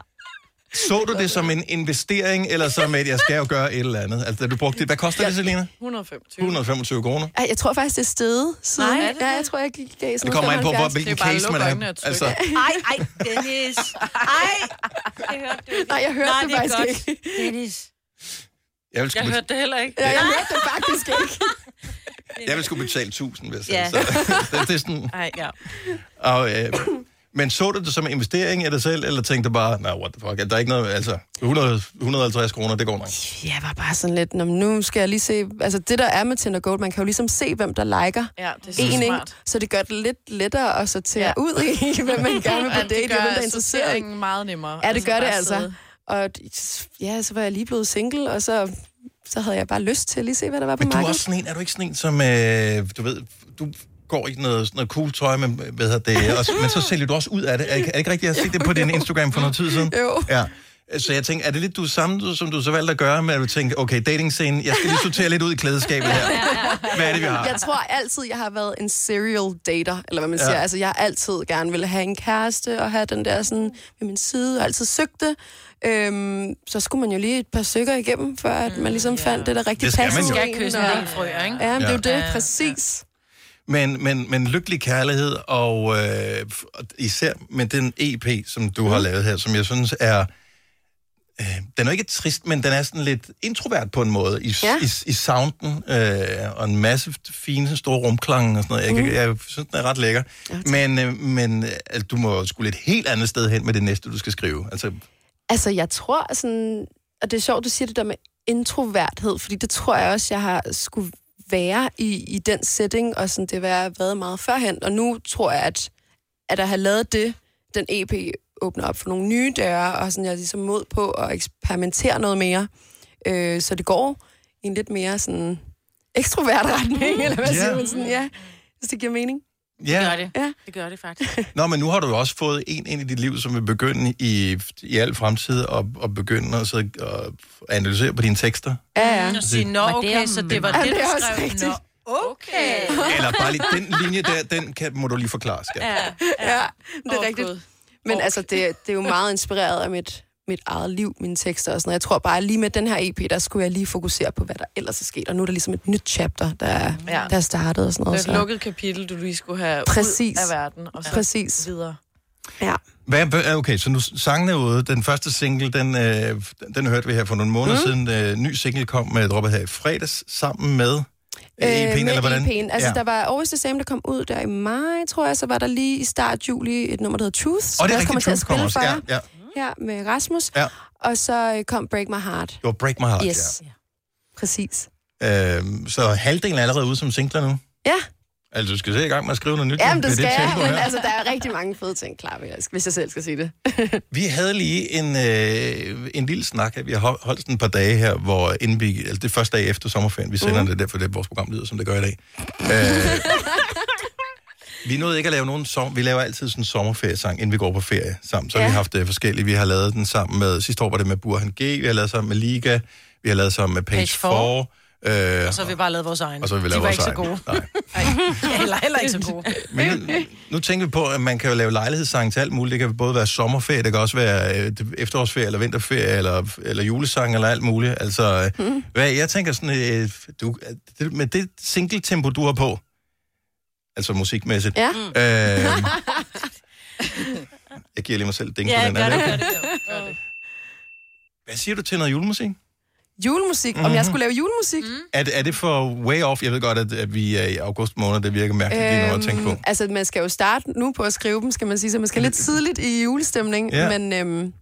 S1: Så du det som en investering, eller som et, jeg skal jo gøre et eller andet? Altså, da du brugte det. Hvad koster det, Selina?
S4: 125.
S1: 125 kroner.
S16: Ej, jeg tror faktisk, det er stedet siden.
S4: Nej, er det
S16: ja,
S4: det?
S16: jeg tror, jeg gik gav sådan
S1: Det kommer an på, hvor-
S16: 75.
S1: hvilken Det er bare at case man lukke er. øjnene og trykke. Altså-
S3: Ej, ej, Dennis. Ej, det hørte du ikke.
S16: Nej, jeg hørte
S3: Nej,
S16: det
S3: er
S16: faktisk
S3: godt.
S16: ikke.
S3: Dennis.
S1: Jeg vil sgu,
S5: Jeg hørte det heller ikke.
S16: Ja, jeg hørte det faktisk ikke.
S1: bet- jeg vil sgu betale 1000, hvis jeg
S5: Ja.
S1: ja. det er sådan,
S5: Ej, ja.
S1: og, øh, men så du det som en investering af dig selv, eller tænkte du bare, nej, what the fuck, der er ikke noget, altså 100, 150 kroner, det går nok.
S16: Jeg var bare sådan lidt, "Nå, men nu skal jeg lige se... Altså, det der er med Tinder Gold, man kan jo ligesom se, hvem der liker
S4: Ja, det er så
S16: en, ikke?
S4: smart.
S16: Så det gør det lidt lettere at sortere ja. ud i, hvem man gerne vil
S4: Ja,
S16: på date,
S4: det
S16: og hvem der
S4: gør
S16: er interesseret. i.
S4: sorteringen meget nemmere.
S16: Ja, det gør det
S4: bare
S16: altså.
S4: sidde.
S16: Og ja, så var jeg lige blevet single, og så, så havde jeg bare lyst til at lige se, hvad der var på
S1: Men du er
S16: markedet.
S1: også sådan en, er du ikke sådan en, som, øh, du ved, du går i noget, sådan noget cool tøj, men, hvad hedder det, og, men så sælger du også ud af det. Er, ikke- er det ikke rigtigt, jeg har set det på din Instagram for noget tid siden?
S16: Jo.
S1: Ja. Så jeg tænker, er det lidt du samme, du- som du så valgte at gøre med, at du tænker, okay, datingscenen, jeg skal lige sortere lidt ud i klædeskabet her. Hvad er det, vi har?
S16: Jeg tror altid, jeg har været en serial dater, eller hvad man
S1: Ja.
S16: ja. siger. Altså, jeg har altid gerne ville have en kæreste, og have den der sådan ved min side, og altid søgte. Øhm, så skulle man jo lige et par stykker igennem, før at man ligesom ja. fandt det, der rigtig
S1: Det skal man
S16: passede
S1: jo.
S16: en,
S1: Skal
S2: kysse
S16: og-
S2: en del frøer, ikke?
S16: Ja, men det er jo
S2: Ja.
S16: det,
S2: Ja,
S16: præcis.
S1: Men, men, men lykkelig kærlighed, og øh, f- og især med den EP, som du har lavet her, som jeg synes er... Øh, den er jo ikke trist, men den er sådan lidt introvert på en måde, i, ja.
S16: Ja.
S1: i, i sounden, øh, og en masse fine, store rumklange og sådan noget. Jeg, kan, jeg synes, den er ret lækker. Mm. Ja, men øh, men øh, altså, du må skulle et helt andet sted hen med det næste, du skal skrive. Altså,
S16: Altså, jeg tror sådan... Og det er sjovt, du siger det der med introverthed, fordi det tror jeg også, jeg har skulle være i, i den setting, og sådan, det var jeg været meget førhen. Og nu tror jeg, at, at at have lavet det, den EP åbner op for nogle nye døre, og sådan, jeg er ligesom mod på at eksperimentere noget mere. Øh, så det går i en lidt mere sådan ekstrovert retning, eller hvad
S1: Ja.
S16: siger man sådan, ja. Hvis det giver mening.
S1: ja.
S5: Det gør det.
S16: Ja.
S5: Det gør det faktisk.
S1: Nå, men nu har du jo også fået en ind i dit liv, som vil begynde i, i al fremtid at, at begynde at, sidde og analysere på dine tekster.
S16: Ja,
S2: ja. Og sige, nå, okay,
S4: altså
S2: så det var
S16: Ja,
S2: det,
S16: det
S2: du
S16: er også
S2: skrev.
S16: rigtigt.
S2: Nå, okay.
S1: Eller bare lige, den linje der, den kan, må du lige forklare, skat.
S5: Ja,
S16: ja. det er oh, rigtigt.
S4: Gud.
S16: Men altså, det, det er jo meget inspireret af mit, mit eget liv, mine tekster og sådan noget. Jeg tror bare, lige med den her EP, der skulle jeg lige fokusere på, hvad der ellers er sket. Og nu er der ligesom et nyt chapter, der,
S4: Ja.
S16: ja. der er startet og sådan noget.
S4: Det er et lukket kapitel, du lige skulle have
S16: Præcis.
S4: ud af verden, og så
S16: Præcis.
S4: videre.
S16: Ja.
S1: Hvad, hvad- okay, så nu sangen er ude. Den første single, den, øh, den, den hørte vi her for nogle måneder mm. siden. Øh, ny single kom med droppet her i fredags sammen med øh, EP'en,
S16: med
S1: eller hvordan?
S16: EP'en. Altså, ja. der var Always The Same, der kom ud der i maj, tror jeg. Så var der lige i start juli et nummer, der hedder Truth. som
S1: Og det
S16: jeg
S1: er
S16: også kommer
S1: rigtigt,
S16: til at
S1: Truth kommer
S16: spille
S1: også.
S16: for
S1: Ja,
S16: jer.
S1: ja.
S16: ja, med Rasmus.
S1: Ja.
S16: Og så øh, kom Break My Heart.
S1: Det var Break My Heart,
S16: yes. ja. Præcis.
S1: ja. Øh, så halvdelen er allerede ude som singler nu.
S16: Ja.
S1: Altså, du skal se i gang med at skrive noget nyt.
S16: Jamen,
S1: med
S16: det skal jeg,
S1: tempo
S16: men
S1: her.
S16: altså, der er rigtig mange fede ting klar, hvis jeg- hvis jeg selv skal sige det.
S1: Vi havde lige en, øh, en lille snak, at vi har hol- holdt sådan et par dage her, hvor inden vi, altså det er første dag efter sommerferien, vi sender mm. det, derfor det vores program lyder, som det gør i dag. Øh, vi nåede ikke at lave nogen som, vi laver altid sådan en sommerferiesang, inden vi går på ferie sammen. Så ja. har vi haft øh, forskellige, vi har lavet den sammen med, sidste år var det med Burhan G, vi har lavet sammen med Liga, vi har lavet sammen med Page,
S2: Page
S1: 4, øh,
S2: Og så har vi bare lavet vores egne.
S1: og så har vi
S2: De
S1: lavet
S2: var
S1: vores
S2: ikke så
S1: egen.
S2: gode.
S1: Nej.
S2: Nej. Heller, heller ikke så gode.
S1: Men nu, nu tænker vi på, at man kan jo lave lejlighedssange til alt muligt. Det kan både være sommerferie, det kan også være øh, efterårsferie, eller vinterferie, eller, eller julesang, eller alt muligt. Altså, mm. hvad, jeg tænker sådan, øh, du, at det, med det single-tempo, du har på, altså musikmæssigt,
S16: Ja.
S1: øh, jeg giver lige mig selv et ding på den her. Er det okay? Hvad siger du til noget julemusik?
S16: Julemusik. Mm-hmm. Om jeg skulle lave julemusik? Mm.
S1: Er, det- er det for way off? Jeg ved godt, at, at vi er i august måned, det virker mærkeligt lige nu at tænke på.
S16: altså, man skal jo starte nu på at skrive dem, skal man sige, så man skal lidt tidligt i julestemning.
S1: Ja.
S16: Ja. Men øhm,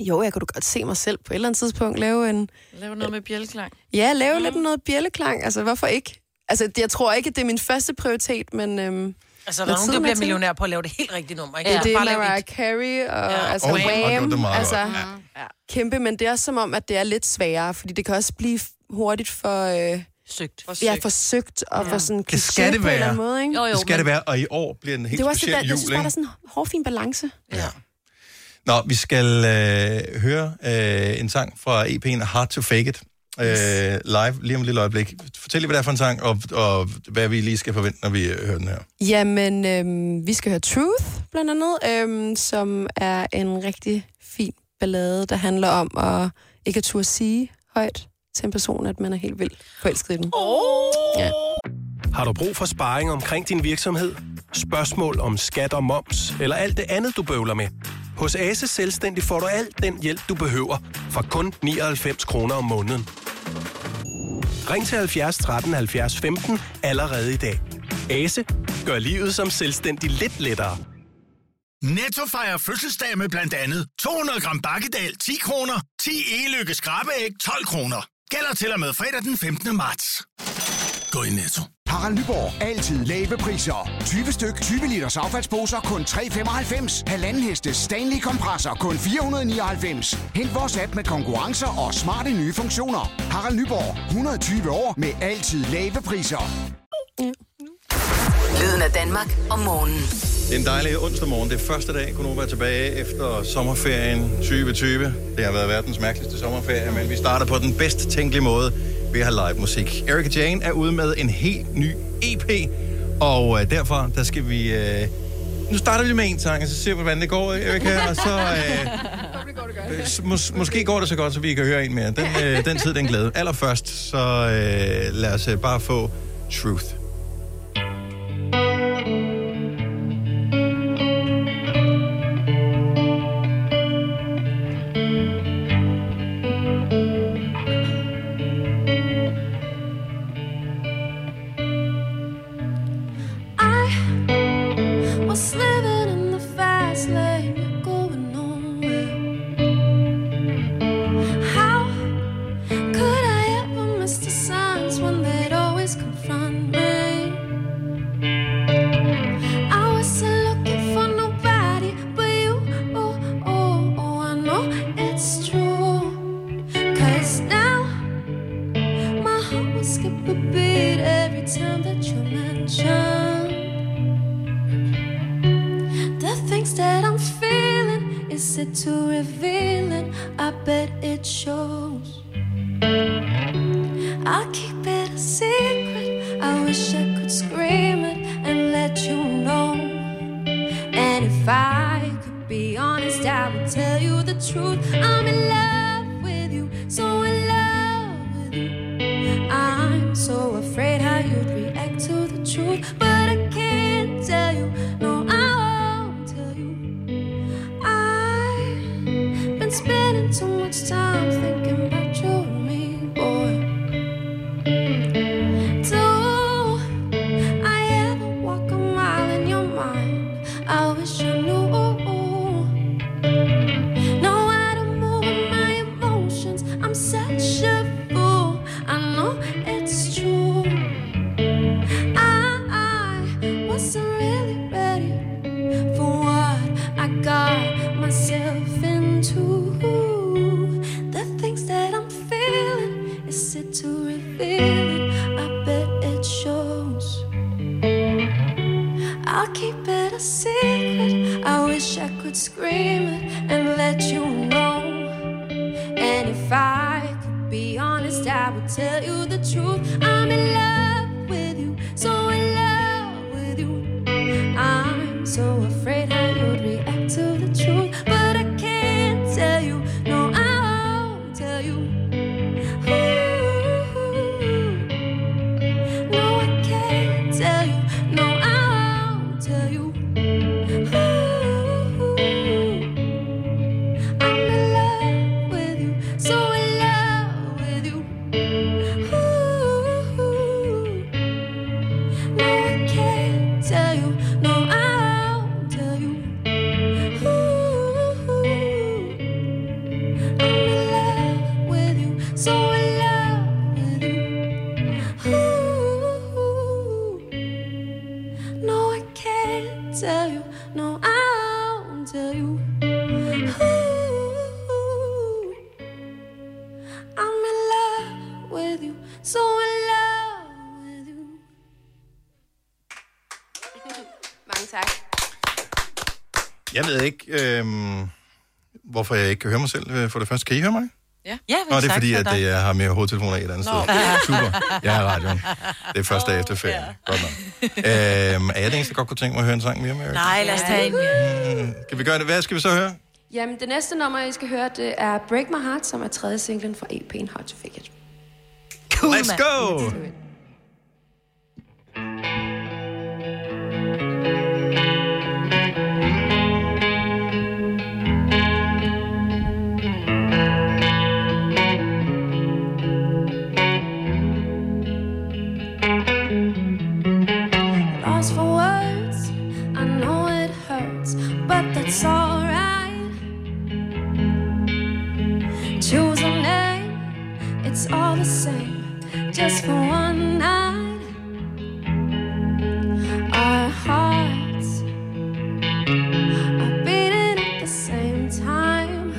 S16: jo, jeg kunne da godt se mig selv på et eller andet tidspunkt lave en...
S4: Lav noget med bjælklang.
S16: Ja, lave mm. lidt noget bjælleklang. Altså, hvorfor ikke? Altså, jeg tror ikke, at det er min første prioritet, men... Øhm,
S2: Altså, der
S16: med
S2: er nogen, der
S16: tiden,
S2: bliver
S16: jeg tænker-
S2: millionær på at lave det helt rigtige nummer, ikke?
S16: Ja, det er
S2: Bare lave
S16: Mariah
S2: et.
S16: Carey og
S2: Ja.
S16: ja. altså
S2: Og
S16: oh,
S2: Wham, og
S16: Wham.
S2: gjorde det meget
S16: altså,
S2: godt.
S16: ja. Kæmpe, men det er også som om, at det er lidt sværere, fordi det kan også blive hurtigt for... Øh,
S2: søgt.
S16: Ja, forsøgt og ja. for sådan
S1: Det skal det
S16: kliché på en eller
S1: være.
S16: anden måde, ikke?
S1: det skal det være, og i år bliver den helt
S16: det er også det,
S1: speciel
S16: der, jeg synes
S1: jul,
S16: bare, der er
S1: ikke?
S16: sådan en hårfin balance.
S1: Nå, vi skal øh, høre øh, en sang fra EP'en Hard to Fake It øh, live lige om et lille øjeblik. Fortæl lige, hvad det er for en sang, og, og hvad vi lige skal forvente, når vi øh, hører den her.
S16: Jamen, øhm, vi skal høre Truth, blandt andet, øhm, som er en rigtig fin ballade, der handler om at ikke at turde sige højt til en person, at man er helt vildt forelsket i den.
S9: Oh. Ja. Har du brug for sparring omkring din virksomhed? Spørgsmål om skat og moms, eller alt det andet, du bøvler med? Hos Ase Selvstændig får du alt den hjælp, du behøver, for kun 99 kroner om måneden. Ring til 70 13 70 15 allerede i dag. Ase gør livet som selvstændig lidt lettere.
S11: Netto fejrer fødselsdag med blandt andet 200 gram bakkedal 10 kroner, 10 e-lykke skrabeæg 12 kroner. Gælder til og med fredag den 15. marts. Gå i Netto.
S17: Harald Nyborg. Altid lave priser. 20 styk, 20 liters affaldsposer kun 3,95. Halvanden heste Stanley kompresser kun 499. Hent vores app med konkurrencer og smarte nye funktioner. Harald Nyborg. 120 år med altid lave priser.
S6: Lyden af Danmark om morgenen.
S1: Det er en dejlig onsdag morgen. Det er første dag, kunne være tilbage efter sommerferien 2020. Det har været verdens mærkeligste sommerferie, men vi starter på den bedst tænkelige måde ved at have live musik. Erika Jane er ude med en helt ny EP, og øh, derfor der skal vi... Øh, nu starter vi med en sang, og så ser vi, hvordan det går, Erika, og så... Øh, S- Mås- måske går det så godt, så vi kan høre en mere. Den, øh, den tid, den glæde. Allerførst, så øh, lad os øh, bare få Truth.
S18: I was living in the fast lane, you're going nowhere. How could I ever miss the signs when they'd always confront me? I wasn't looking for nobody but you. Oh, oh, oh, I know it's true. Cause now my heart will skip a beat every time that you mention the things that I'm feeling. Is it too revealing? I bet it shows. I'll keep it a secret. I wish I could scream it and let you know. And if I could be honest, I would tell you the truth. I'm in love with you, so in love with you. I'm so afraid how you'd react to the truth, but I can't tell you. No, I won't tell you. I've been spending too much time thinking about you and me, boy. Do I ever walk a mile in your mind? I wish I knew. No, I don't move with my emotions. I'm such a fool. I know it's true. I, I wasn't really ready for what I got myself into. The things that I'm feeling, is it too revealing? I bet it shows. I'll keep it a secret. I wish I could scream it and let you know. And if I could be honest, I would tell you the truth. I'm in love with you, so in love with you. I'm so afraid how you'd react to the truth, but I can't tell you. No, I won't tell you. Ooh. No, I can't tell you. No, I won't tell you. Ooh. I'm in love with you, so in love with you. Ooh. No, I can't tell you. No, I won't tell you. Ooh. I'm in love with you, so in love with you. Ooh. tell you. No, I won't tell you. Ooh, I'm in love with you. So in love with you.
S16: Mange tak.
S1: Jeg ved ikke, øhm, hvorfor jeg ikke kan høre mig selv øh, for det første. Kan I høre mig?
S4: Ja.
S3: ja
S1: Nå, det er fordi, at øh, jeg har mere hovedtelefoner i et andet sted. Super. Jeg er i radioen. Det er første dag efter ferien. Godt nok. Øhm, er jeg den eneste, der godt kunne tænke mig at høre en sang mere med?
S3: Nej, lad os tage en
S1: mere. Kan vi gøre det? Hvad skal vi så høre?
S18: Jamen, det næste nummer, I skal høre, det er Break My Heart, som er tredje singlen fra EP'en Hard to Fake It.
S1: Cool, Let's go!
S18: Lost for words, I know it hurts, but that's alright. Choose a name, it's all the same, just for one night. Our hearts are beating at the same time.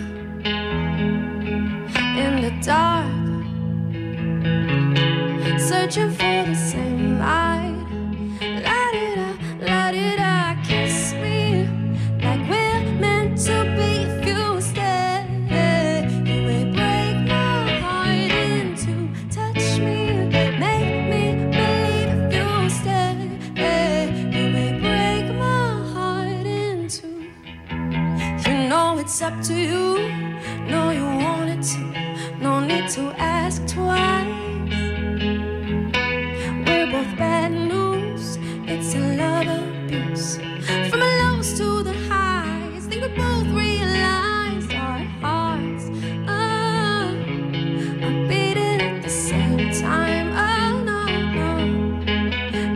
S18: In the dark, searching for the same light. La-di-da, la-di-da, kiss me like we're meant to be. If you stay, you may break my heart in two. Touch me, make me believe. If you stay, you may break my heart in two. You know it's up to you. Know you want it to. No need to ask twice. We're both bad news. It's a love abuse. From the lows to the highs. Think we both realize our hearts are, are beating at the same time. Oh no, no.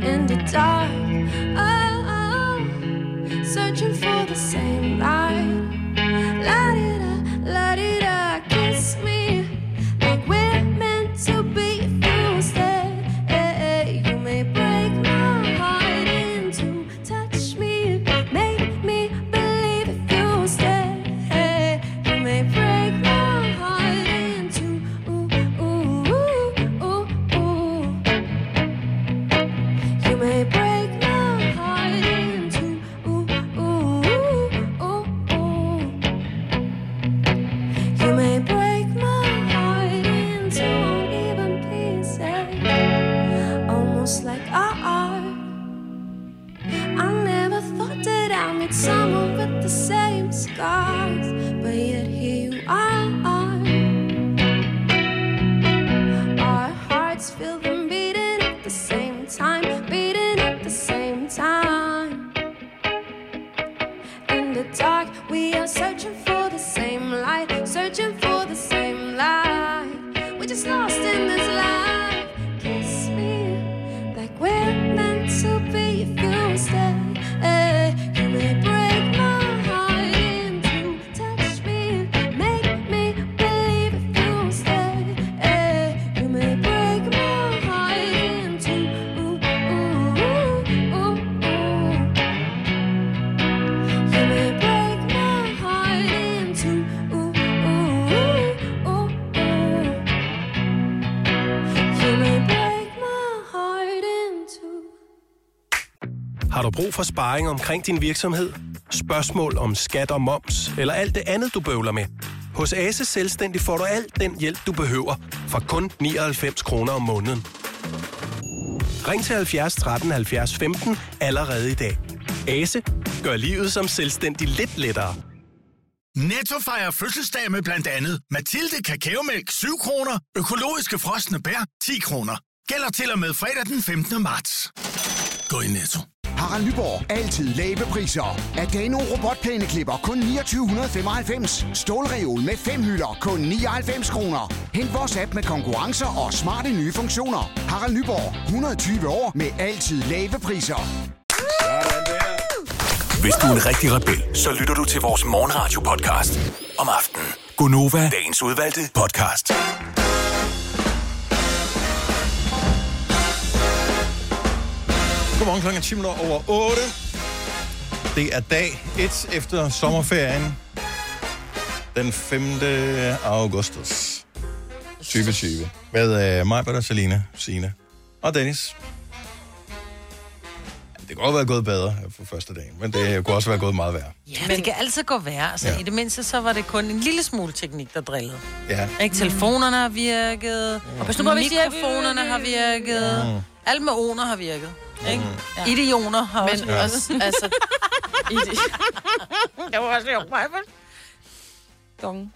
S18: In the dark. Oh, oh. Searching for the same light. La di da, la di da. Kiss me like we're meant to be. If you stay. Hey, you may break my heart in two. Touch me, make me believe if you stay. Hey, you may break my heart in two. Ooh, ooh, ooh, ooh, ooh. You may break my heart in two. Ooh, ooh, ooh, ooh. You may break my heart in two uneven pieces, almost like I are. I never thought that I'd meet someone with the same scars, but yet here you are. Our hearts feel them beating at the same time, beating at the same time. In the dark, we are searching for the same light, searching for the same light. We're just lost in this life. Kiss me like we're meant to be. If you stay, you may break my heart in two. Touch me, make me believe. If you stay, Eh, you may break my heart in two. Ooh, ooh, ooh, ooh, ooh. You may break my heart in two. Ooh, ooh, ooh, ooh, ooh. You may break my heart in two.
S9: Har du brug for sparring omkring din virksomhed? Spørgsmål om skat og moms, eller alt det andet, du bøvler med? Hos Ase Selvstændig får du alt den hjælp, du behøver, for kun 99 kroner om måneden. Ring til 70 13 70 15 allerede i dag. Ase gør livet som selvstændig lidt lettere.
S11: Netto fejrer fødselsdag med blandt andet Mathilde Kakaomælk 7 kroner, økologiske frosne bær 10 kroner. Gælder til og med fredag den 15. marts. Gå i Netto.
S17: Harald Nyborg. Altid lave priser. Adano robotplæneklipper kun 2995. Stålreol med fem hylder kun 99 kroner. Hent vores app med konkurrencer og smarte nye funktioner. Harald Nyborg. 120 år med altid lave priser.
S15: Hvis du er en rigtig rebel, så lytter du til vores morgenradio-podcast om aftenen. Gunova, dagens udvalgte podcast.
S1: Godmorgen klokken er 10 minutter over 8. Det er dag 1 efter sommerferien. Den 5. augustus 2020. Med øh, mig, Britta, Selina, Sina og Dennis. Det kunne godt være gået bedre for første dagen, men det kunne også være gået meget værre.
S2: Ja, men det kan altid gå værre. Altså,
S1: Ja.
S2: ja. I det mindste, så var det kun en lille smule teknik, der drillede.
S1: Ja.
S2: Ikke? Telefonerne har virket,
S1: Og
S2: og
S1: hvis
S2: hvis
S1: nu
S5: bare vi siger-
S2: mikrofonerne har virket,
S1: Mm.
S2: alt med oner har virket. Ikke? Ja. Idioner har
S4: Men
S2: også virket.
S4: også, altså...
S2: Jeg var også lige mig,
S4: Dong.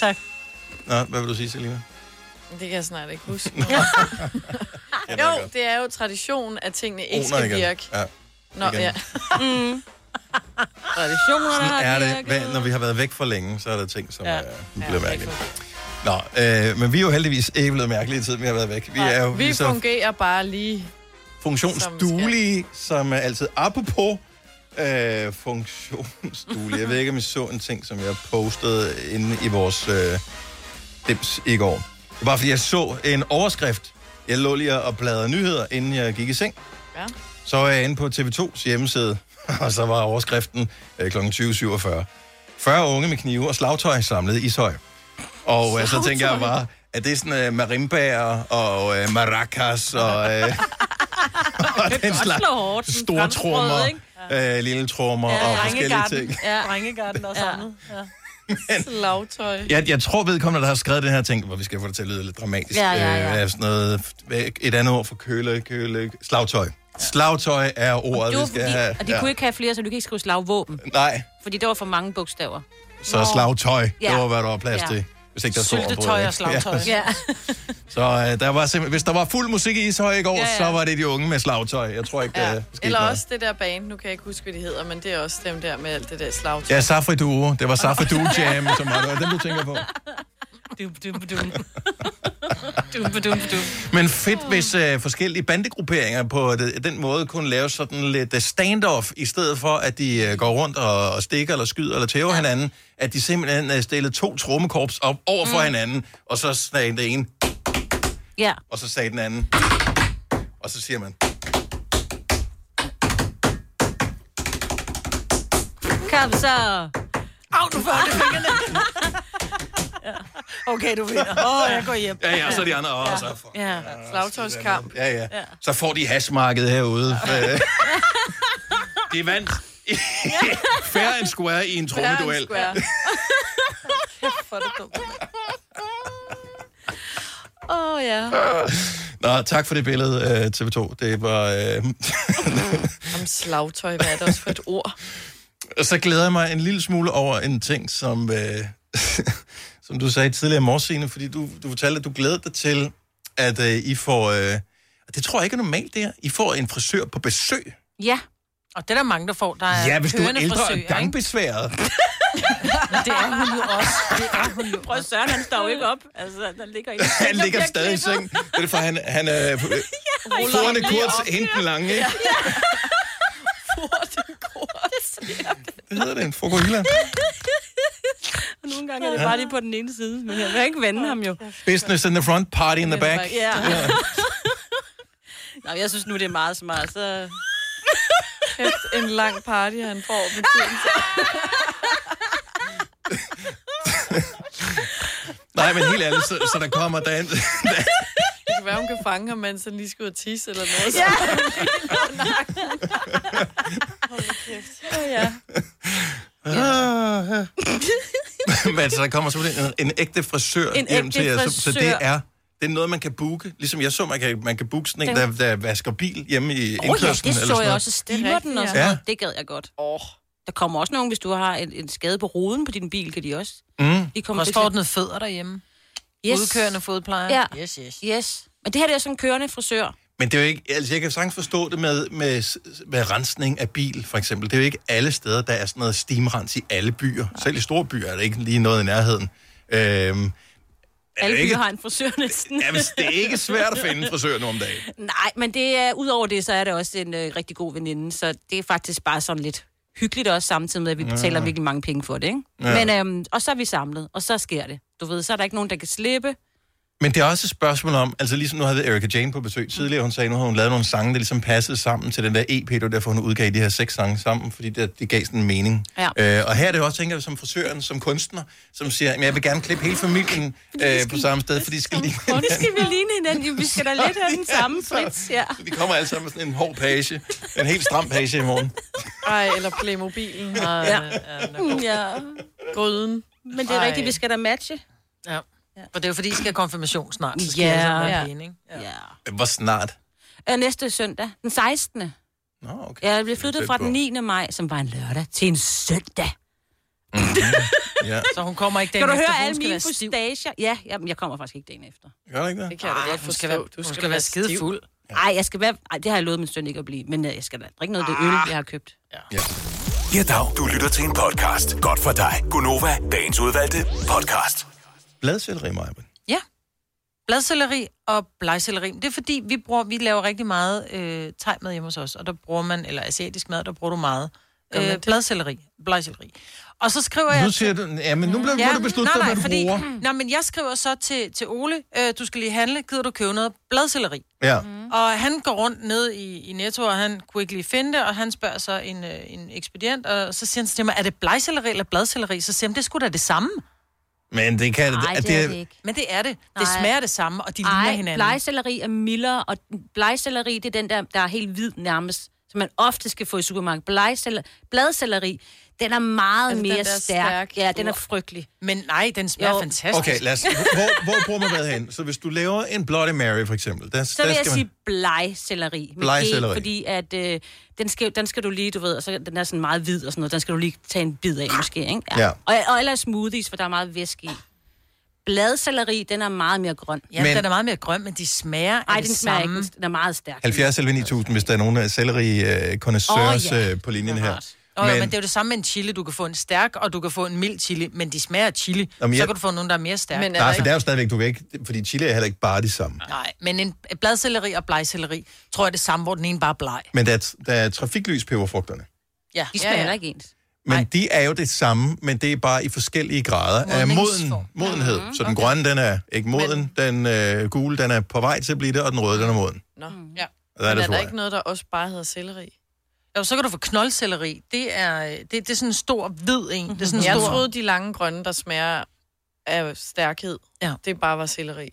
S2: Tak.
S1: Nå, hvad vil du sige, Selina?
S4: Det kan jeg snart ikke huske.
S1: Jeg ved
S4: jo,
S1: godt.
S4: det er jo tradition, at tingene ikke
S1: Oner
S4: skal
S1: igen.
S4: virke.
S1: Ja.
S4: Nå,
S1: Igen.
S4: ja. Mm. Traditionerne
S1: Sådan er
S4: har
S1: Ah, det.
S4: virket.
S1: Hvad, når vi har været væk for længe, så er der ting, som ja.
S4: Ja.
S1: er, bliver mærkelige. Nå, øh, men vi er jo heldigvis ikke blevet mærkelige i tiden, vi har været væk. Vi er jo
S4: Vi
S1: lige så
S4: fungerer bare lige.
S1: funktionsduelige, som er altid apropos øh, funktionsduelige. Jeg ved ikke, om I så en ting, som jeg postede inde i vores øh, dims i går. Det var bare fordi, jeg så en overskrift. Jeg lå lige og bladrede nyheder, inden jeg gik i seng.
S4: Ja.
S1: Så er jeg inde på TV2's hjemmeside, og så var overskriften øh, kl. 20.47. 40 unge med knive og slagtøj samlet i Ishøj. Og øh, så tænker jeg bare, at det er sådan øh, marimbager og øh, maracas og, øh, og den slags store trommer, øh, lille trommer ja, og forskellige ting.
S2: Ja, drengegarden og sådan ja.
S1: Men-
S4: Slagtøj.
S1: Jeg, jeg tror vedkommende, der har skrevet den her ting, hvor vi skal få det til at lyde lidt dramatisk.
S4: Ja, ja, ja.
S1: Øh, er sådan noget, et andet ord for køle, køle, slagtøj. Slagtøj er ordet,
S5: Det var
S1: vi skal
S5: fordi,
S1: have.
S5: og de kunne ikke have flere, så du kan ikke skrive slagvåben.
S1: Nej,
S5: Fordi der var for mange bogstaver.
S1: så
S5: Nå.
S1: slagtøj, det
S5: Ja.
S1: var, hvad der var plads
S5: Ja.
S1: til. Hvis ikke der stod ombord,
S5: Syltetøj
S1: ikke?
S5: og slagtøj.
S1: Ja.
S5: Ja.
S1: Så øh, der var simpelthen, hvis der var fuld musik i Ishøj i går, ja,
S4: Ja,
S1: ja.
S4: ja.
S1: så var det de unge med slagtøj. Jeg tror ikke, ja. det skete
S4: Eller
S1: noget.
S4: også det der band, nu kan jeg ikke huske, hvad de hedder, men det er også dem der med alt det der slagtøj.
S1: Ja, Safri Duo. Det var Safri Duo Jam, som var det. Den, du tænker på.
S5: Dum, dum, dum. dum, dum, dum.
S1: Men fedt, hvis øh, forskellige bandegrupperinger på det, den måde kunne lave sådan lidt øh, standoff, i stedet for, at de øh, går rundt og, og stikker, eller skyder, eller tæver ja. hinanden, at de simpelthen øh, stillede to trommekorps op over for mm. hinanden, og så sagde den ene,
S5: Ja.
S1: og så sagde den anden, og så siger man,
S5: Kom så.
S2: Au, du får det fingrene. ja. Okay, du vinder. Åh, oh, jeg går hjem.
S1: ja, ja, og så de andre, og ja. så... Fuck,
S2: Ja,
S4: slagtøjskamp.
S1: ja, ja, ja. Så får de hashmarkedet herude. Øh, de vandt. Fair and square i en trommeduel.
S4: For det dumt. Åh, oh, ja.
S1: Nå, tak for det billede, øh, TV2. Det var... Øh,
S4: Om slagtøj, hvad er det også for et ord?
S1: Og så glæder jeg mig en lille smule over en ting, som, øh, som du sagde tidligere i morges, Signe, fordi du, du fortalte, at du glæder dig til, at øh, I får... Øh, og det tror jeg ikke er normalt, det her. I får en frisør på besøg.
S5: Ja.
S2: Og det er der mange, der får. Der er
S1: Ja, hvis du er
S2: kørende
S1: ældre og
S2: frisører, ikke?
S1: gangbesværet.
S2: Men det er hun jo også. Det er hun jo
S5: Prøv at Søren, han står jo ikke op. Altså, der ligger ikke.
S1: Han ligger stadig i seng. Det er for, han, han er... Øh, Forerne
S5: lige
S1: kort, enten lange, ikke? Hvad hedder det? En frokohila?
S5: Og Nogle gange er det bare lige på den ene side, men jeg vil ikke vende ham jo.
S1: Business in the front, party in the back.
S5: Ja. Nå, jeg synes nu, det er meget smart, så...
S4: Kæft, en lang party, han får på tiden.
S1: Nej, men helt ærligt, så, så der kommer dagen...
S4: Det kan være, hun kan fange ham, mens han lige skal ud og tisse eller noget.
S5: Ja.
S4: Hold da kæft. Åh, ja.
S1: Men altså, der kommer selvfølgelig en, en ægte frisør
S5: En
S1: hjem
S5: ægte
S1: til jer. Så, så det
S5: frisør.
S1: er, det er noget, man kan booke. Ligesom jeg så, man kan, man kan booke sådan en, der,
S5: Den-
S1: der vasker bil hjemme i
S5: Åh oh, ja,
S1: indkørslen.
S5: det så
S1: eller
S5: jeg
S1: sådan noget.
S5: også. Stimer den og
S1: ja.
S5: sådan noget.
S1: Ja.
S5: Det gad jeg godt. Oh. Der kommer også nogen, hvis du har en, en skade på ruden på din bil, kan de også.
S1: Mm.
S5: De
S2: Også får den noget fødder derhjemme. Yes. Udkørende fodplejer.
S5: Ja.
S2: Yes, yes.
S5: Yes. Men det her det er sådan en kørende frisør.
S1: Men det er jo ikke, altså jeg kan sagtens forstå det med, med, s- med rensning af bil, for eksempel. Det er jo ikke alle steder, der er sådan noget steamrens i alle byer. Selv i store byer er der ikke lige noget i nærheden. Øhm, er det
S5: Alle
S1: jo
S5: byer
S1: ikke,
S5: har en frisør næsten.
S1: ja, hvis det er ikke svært at finde en frisør nu om dagen.
S5: Nej, men det er, udover det, så er det også en øh, rigtig god veninde, så det er faktisk bare sådan lidt hyggeligt også samtidig med, at vi
S3: Ja.
S5: betaler virkelig mange penge for det, ikke?
S3: Ja.
S5: Ja. Men, øhm, og så er vi samlet, og så sker det. Du ved, så er der ikke nogen, der kan slippe,
S1: Men det er også et spørgsmål om, altså ligesom nu havde vi Erika Jane på besøg tidligere, hun sagde, nu havde hun lavet nogle sange, der ligesom passede sammen til den der EP, det var derfor hun udgav de her seks sange sammen, fordi det, det gav sådan en mening.
S5: Ja.
S1: Øh, og her er det også, tænker jeg, som frisøren, som kunstner, som siger, "Jamen, jeg vil gerne klippe hele familien øh, på samme sted, fordi de skal lige...
S5: Hvordan skal vi ligne hinanden? Jo, Vi skal da lidt have den samme, Fritz. Ja.
S1: Vi kommer alle sammen med sådan en hård page, en helt stram page i morgen.
S4: Ej, eller Playmobilen. Og,
S5: Ja.
S4: ja.
S5: ja.
S4: Gryden.
S5: Men det er
S2: Ej.
S5: rigtigt, vi skal da matche.
S2: Ja. For det er jo fordi, I skal have konfirmation snart. Så skal
S5: Ja.
S2: yeah. være
S5: Ja.
S2: yeah. pæne, ikke?
S5: Ja.
S1: Hvor snart?
S5: Øh, Næste søndag, den 16.
S1: Nå, okay.
S5: Jeg blev flyttet
S2: tæt
S5: fra
S2: på.
S5: den 9. maj, som var en lørdag, til en søndag.
S1: Ja.
S2: altså- Så hun kommer ikke
S5: Den
S2: den
S5: kan du
S2: efter,
S5: høre
S2: for hun
S5: alle
S2: skal
S5: mine
S2: være stiv.
S5: fustager? Ja, jamen, jeg kommer faktisk ikke dagen efter.
S1: Gør du ikke det?
S2: Det kan jeg da godt
S5: hun
S2: forstå.
S5: skal være,
S2: Ah, Du skal være stiv.
S5: Nej, jeg skal være... Ej, det har jeg lovet min søn ikke at blive, men øh, jeg skal da drikke noget af det øl, jeg har købt.
S15: Ja, dag. Du lytter til en podcast. Godt for dig. Gunova, dagens udvalgte podcast.
S1: Bladcelleri, Maja.
S2: Ja. Bladcelleri og blegcelleri. Det er fordi, vi, bruger, vi laver rigtig meget øh, thai med hjemme hos os, og der bruger man, eller asiatisk mad, der bruger du meget
S1: Gør man
S2: øh,
S1: det?
S2: bladcelleri, blegcelleri. Og så skriver jeg...
S1: Nu siger du, ja, men nu blev ja, det besluttet,
S2: nej, nej,
S1: hvad du
S2: fordi,
S1: bruger.
S2: Nå, men jeg skriver så til, til Ole, øh, du skal lige handle, gider du købe noget bladcelleri?
S1: Ja.
S2: Mm. Og han går rundt ned i, i Netto, og han kunne ikke lige finde det, og han spørger så en, øh, en ekspedient, og så siger han til mig, er det blegcelleri eller bladcelleri? Så siger han, det skulle da det samme.
S1: Men det kan...
S5: Nej,
S1: at
S5: det er det ikke.
S2: Men det er det. Det
S5: Nej.
S2: smager det samme, og de ligner
S5: Ej,
S2: hinanden.
S5: blegselleri er mildere, og blegselleri, det er den der, der er helt hvid nærmest, som man ofte skal få i supermarkedet. Blegceller- Bladselleri, den er meget
S2: Er det Altså, den,
S5: mere
S2: der er
S5: stærk.
S2: stærk?
S5: Ja, den er
S2: Uh.
S5: frygtelig.
S2: Men nej, den smager fantastisk.
S1: Okay, lad os, hvor, hvor bruger man hvad hen? Så hvis du laver en Bloody Mary, for eksempel, der,
S5: Så
S1: der
S5: vil jeg
S1: skal
S5: sige blegselleri. med
S1: Blegselleri.
S5: G, Fordi at øh, den, skal, den skal du lige, du ved, og så den er sådan meget hvid og sådan noget, den skal du lige tage en bid af måske, ikke?
S1: Ja.
S5: Og, og ellers smoothies, for der er meget væske i. Bladselleri, den er meget mere grøn.
S1: Ja, Men- den er
S2: meget mere grøn, men de smager
S5: Ej,
S2: det
S5: den smager
S2: samme.
S5: ikke. Den er meget stærk.
S1: 70 eller 9000, hvis der er nogen af selleri øh, connoisseurs
S2: Åh, ja.
S1: øh, på linjen her.
S2: Og men... men det er jo det samme med en chili. Du kan få en stærk, og du kan få en mild chili, men de smager af chili.
S1: Jamen,
S2: Jamen,
S1: jeg-
S2: Så kan du få nogen, der er mere stærk. Men
S1: Nej, for det er jo stadigvæk, du kan ikke, fordi chili er heller ikke bare det samme.
S2: Nej, men en et bladcelleri og blegcelleri, tror jeg er det samme, hvor den ene bare er bleg.
S1: Men der er, der er trafiklys peberfrugterne.
S2: Ja.
S5: De smager
S2: ja,
S5: heller
S2: ja.
S5: ikke ens.
S1: Men Nej. de er jo det samme, men det er bare i forskellige grader af moden,
S5: Modningsform.
S1: modenhed. Mm, så den grønne, den er ikke moden, men... den øh, gule, den er på vej til at blive det, og den røde, den er moden.
S4: Nå.
S2: Mhm.
S4: Ja.
S1: Og der er
S4: Men er
S1: det så
S4: der
S1: meget.
S4: ikke noget, der også bare hedder selleri?
S2: Jo, så kan du få knoldcelleri. Det er, øh, det, det er sådan en stor, hvid en. Det er sådan en
S4: Mhm. jeg
S2: stor...
S4: troede, de lange grønne, der smager af stærkhed,
S2: ja.
S4: det bare var selleri.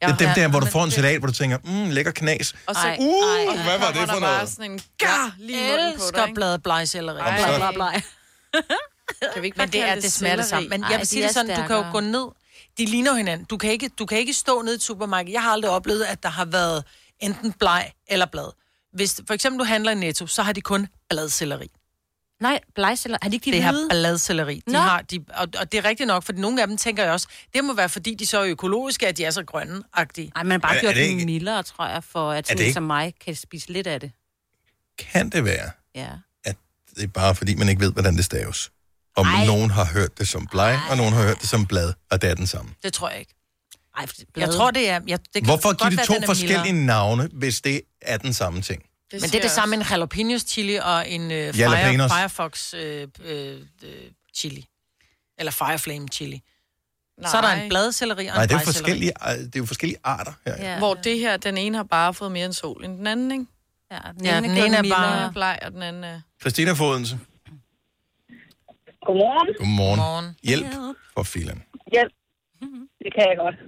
S1: Det er dem der, hvor du får en salat, hvor du tænker, mm, lækker knas.
S4: Og så,
S1: uh, hvad var det for
S4: Bare
S1: noget?
S4: sådan en gar Ah, lige i munden på dig,
S2: elsker
S4: ikke?
S2: bladet blegcelleri.
S4: Ej.
S1: Bleg,
S4: bleg, bleg.
S2: Kan vi ikke
S4: bare
S2: Men det
S4: kalde
S2: er
S4: det
S2: det smager det
S4: selleri?
S2: samme. Men
S4: Ej,
S2: jeg vil
S4: de
S2: sige det
S4: er
S2: sådan, du kan jo
S4: stærkere.
S2: gå ned. De ligner jo hinanden. Du kan ikke, du kan ikke stå ned i et supermarked. Jeg har aldrig oplevet, at der har været enten bleg eller blad. Hvis for eksempel du handler i Netto, så har de kun bladcelleri.
S5: Nej, blegselleri. Har de ikke de
S2: det her
S5: hvide?
S2: bladcelleri. De
S5: Nå.
S2: har, de, og, og, det er rigtigt nok, for nogle af dem tænker jeg også, det må være fordi, de så er økologiske, at de er så grønne-agtige.
S5: Nej, man har bare
S1: Er- er
S5: gjort
S1: det
S5: det
S1: ikke-
S5: mildere, tror jeg, for at
S1: det
S5: sådan
S1: ikke-
S5: en som mig kan spise lidt af det.
S1: Kan det være,
S5: Ja.
S1: det er bare fordi, man ikke ved, hvordan det staves? Om Ej. nogen har hørt det som bleg, og nogen har hørt det som blad, og det er den samme.
S2: Det tror jeg ikke.
S5: Ej,
S2: jeg tror, det er... Jeg, det kan
S1: Hvorfor
S2: godt
S1: give det
S2: være,
S1: to
S2: den er
S1: forskellige
S2: mildere.
S1: navne, hvis det er den samme ting?
S2: Det Men det er det samme med en jalapenos chili og en øh, fire,
S1: Jalapenos.
S2: firefox øh, øh, øh, chili. Eller fireflame chili. Nej. Så er der en bladcelleri og
S1: Nej,
S2: en
S1: det er, jo
S2: blegselleri.
S1: forskellige, det er jo forskellige arter her. Ja.
S4: Ja. Hvor det her, den ene har bare fået mere end sol end den anden, ikke?
S5: Ja,
S1: Ja, den ene er bare-
S4: bleg, og den anden er...
S1: Christina Fodense,
S4: Godmorgen.
S1: godmorgen. godmorgen. Hjælp for filen.
S19: Hjælp. Det kan jeg godt.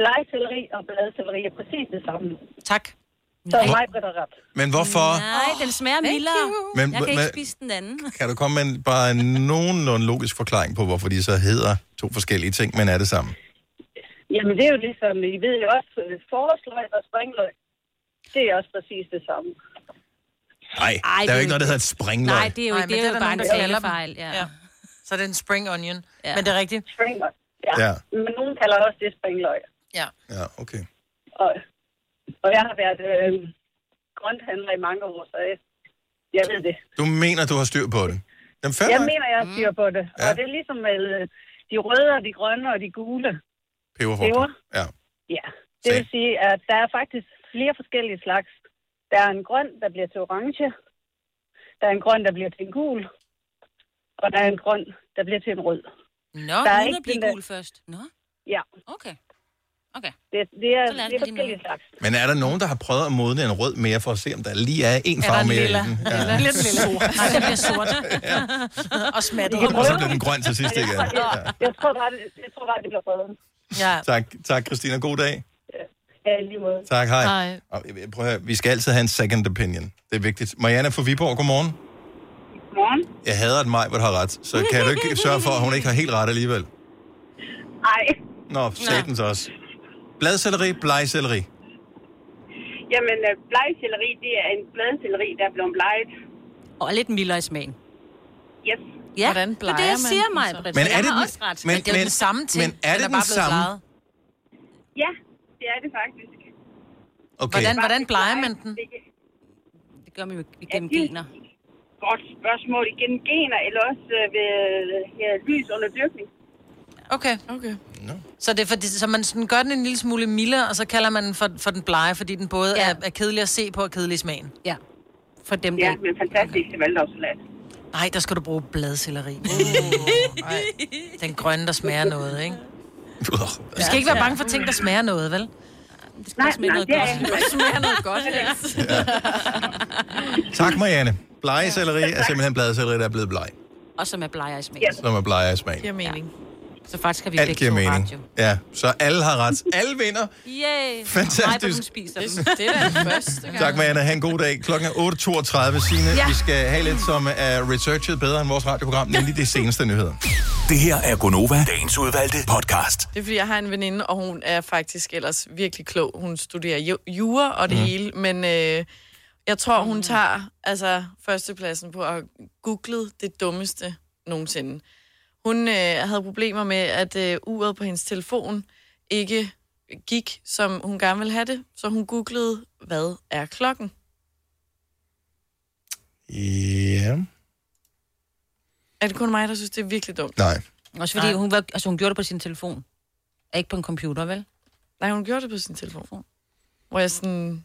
S19: Blegcelleri og bladcelleri er præcis det samme.
S2: Tak.
S19: Så
S1: Nej.
S19: mig bliver der ret.
S1: Men hvorfor
S5: Nej, den smager mildere.
S1: Men-
S5: Men, jeg kan ikke
S1: men-
S5: spise den anden.
S1: kan du komme med en- bare en nogenlunde logisk forklaring på, hvorfor de så hedder to forskellige ting, men er det samme?
S19: Jamen, det er jo ligesom, I ved jo også, øh, forårsløg og springløg, det er også præcis det samme.
S1: Nej,
S19: Ej,
S1: der er
S19: det
S1: jo
S19: er
S1: ikke noget, der hedder et springløg.
S5: Nej, det er jo,
S2: Nej,
S5: Nej,
S2: men
S5: det er
S2: det
S5: jo
S2: er der
S5: bare
S2: nogen,
S5: en
S2: der kalder dem.
S5: talefejl. Ja. ja.
S2: Så er det en spring onion. Ja. Men det er rigtigt.
S19: Springløg. Ja.
S1: Ja.
S19: Men nogen kalder også det springløg.
S2: Ja.
S1: Ja, okay.
S19: Og, og jeg har været øh, grønthandler i mange år, så jeg, jeg ved det.
S1: Du mener, du har styr på det. Jamen, fair
S19: Jeg
S1: nok.
S19: mener, jeg har styr på det.
S1: Ja.
S19: Og det er ligesom med øh, de røde og de grønne og de gule.
S1: Peberfrugter.
S19: Peber.
S1: Ja.
S19: Ja, det vil sige, at der er faktisk flere forskellige slags. Der er en grøn, der bliver til orange. Der er en grøn, der bliver til en gul. Og der er en grøn, der bliver til en rød.
S5: Nå,
S19: der
S5: der er uden at blive
S19: den der-
S5: gul først. Nå,
S19: Ja.
S5: okay. Okay.
S19: Det, det er,
S5: Så lad os
S19: det er
S5: med de
S19: forskellige slags.
S1: Men er der nogen, der har prøvet at modne en rød mere, for at se, om der lige er en farve mere i den?
S2: Ja. Lidt lilla.
S1: Sort.
S2: Nej, den bliver sort. Og smattet.
S1: Og så bliver den grøn til sidst igen.
S19: Ja, jeg tror bare, det, jeg tror bare, det bliver bedre.
S2: Ja.
S1: Tak, tak Christina. God dag.
S19: Ja, i lige måde.
S1: Tak, hej. Og, øh, Prøv at høre, vi skal altid have en second opinion. Det er vigtigt. Mariana fra Viborg, godmorgen.
S19: Morgen.
S1: Jeg hader, at Majbert har ret, så kan du ikke sørge for, at hun ikke har helt ret alligevel?
S19: Ej,
S1: Nå, satans også. Bladcelleri, blegcelleri.
S19: jamen øh, blegselleri, det er en bladselleri, der er blevet bleget.
S5: Og er lidt mildere i smagen.
S19: Yes.
S5: Ja, Hvordan bleger det er det, jeg
S19: man
S5: siger
S19: den
S5: mig,
S19: så?
S5: Britt.
S1: Men
S5: så
S1: er
S5: jeg
S1: det
S5: har
S1: den-
S5: også ret.
S1: men- Men det er jo men- den samme ting. men er Den det er den bare blevet samme? bleget.
S19: Ja, det er det faktisk.
S1: Okay.
S2: Hvordan, hvordan plejer man den?
S5: Det gør man jo igennem gener.
S19: Godt spørgsmål. Igen gener, eller også øh, ved ja, lys under dyrkning.
S2: Okay.
S4: okay.
S2: Så, det er fordi, så man sådan gør den en lille smule mildere, og så kalder man den for, for den blege, fordi den både ja. er, er kedelig at se på og kedelig i smagen.
S5: Ja. For dem
S19: Ja, men fantastisk til valgdagssalat.
S2: Nej, der skal du bruge bladcelleri. Uh, ej. den grønne, der smager noget, ikke? Du skal ikke være bange for ting, der smager noget, vel? Det
S19: skal Nej, smage nej, noget det er godt. ikke.
S2: Det smager noget godt.
S1: Tak, Marianne. Blegecelleri er simpelthen bladcelleri, der er blevet bleg,
S5: Og som er bleger i smagen.
S1: som er bleger i smagen.
S5: giver mening. Så faktisk har vi
S1: Alt
S5: begge
S1: giver
S5: to
S1: mening.
S5: ret, jo.
S1: Ja, så alle har ret. Alle vinder.
S5: Yay.
S1: Fantastisk.
S5: Ej, hvor hun spiser dem.
S4: Det er da første gang.
S1: Tak, Marianne. Ha' en god dag. Klokken er 8.32, Signe.
S4: Ja.
S1: Ja. Vi skal have lidt, som er researchet bedre end vores radioprogram, nemlig de seneste nyheder.
S15: Det her er Gonova, dagens udvalgte podcast.
S4: Det er, fordi jeg har en veninde, og hun er faktisk ellers virkelig klog. Hun studerer ju- jura og det
S15: Mm.
S4: mm. hele, men øh, jeg tror, hun tager altså førstepladsen på at have googlet det dummeste nogensinde. Hun øh, havde problemer med, at øh, uret på hendes telefon ikke gik, som hun gerne ville have det, så hun googlede, hvad er klokken?
S1: Ja.
S4: Er det kun mig, der synes, det er virkelig dumt?
S1: Nej.
S5: Også fordi
S4: Nej.
S5: hun, var, altså, hun gjorde det på sin telefon. Og Ikke på en computer, vel?
S4: Nej, hun gjorde det på sin telefon. Hvor jeg sådan...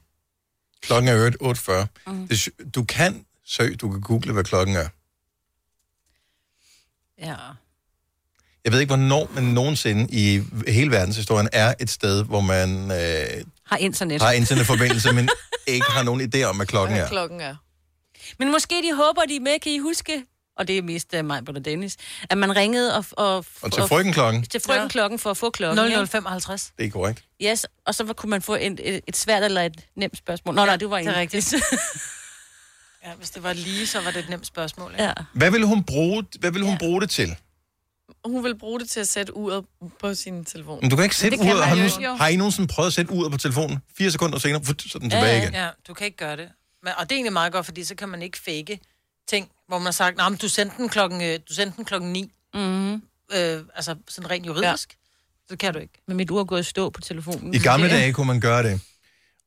S1: Klokken er i øvrigt 8.40. Mm. Det, sy- du kan søg, du kan google, hvad klokken er.
S5: Ja.
S1: Jeg ved ikke, hvornår, men nogensinde i hele verdenshistorien er et sted, hvor man øh,
S5: Har internet.
S1: har internetforbindelse, men ikke har nogen idé om, hvad klokken er.
S4: Klokken er.
S5: Men måske de håber, de er med, kan I huske? Og det er mest uh, mig, og Dennis. At man ringede og... Og,
S1: Og til frøkenklokken.
S5: Til frøken klokken for at få klokken. ikke?
S2: 0055.
S1: Det er korrekt.
S5: Yes, og så var- kunne man få en, et, et svært eller et nemt spørgsmål. Nå, ja, nej, det var
S2: det
S5: en.
S2: er rigtigt. Ja, hvis det var lige, så var det et nemt spørgsmål. Ikke?
S5: Ja.
S1: Hvad ville hun bruge, hvad ville hun bruge det til?
S4: Hun vil bruge det til at sætte uret på sin telefon.
S1: Men du kan ikke sætte
S4: Det kan
S1: uret. Har,
S4: man
S1: du
S4: jo.
S1: nogensinde- har I nogensinde prøvet at sætte uret på telefonen? Fire sekunder senere, fut, så er den tilbage igen.
S2: Ja, du kan ikke gøre det. Men, og det er egentlig meget godt, fordi så kan man ikke fake ting, hvor man har sagt, nah, men du sendte den klokken, øh, du sendte den klokken 9.
S5: Mm-hmm.
S2: Øh, altså sådan rent juridisk. Ja. Det kan du ikke.
S5: Men mit ur er gået i stå på telefonen.
S1: I gamle dage kunne man gøre det.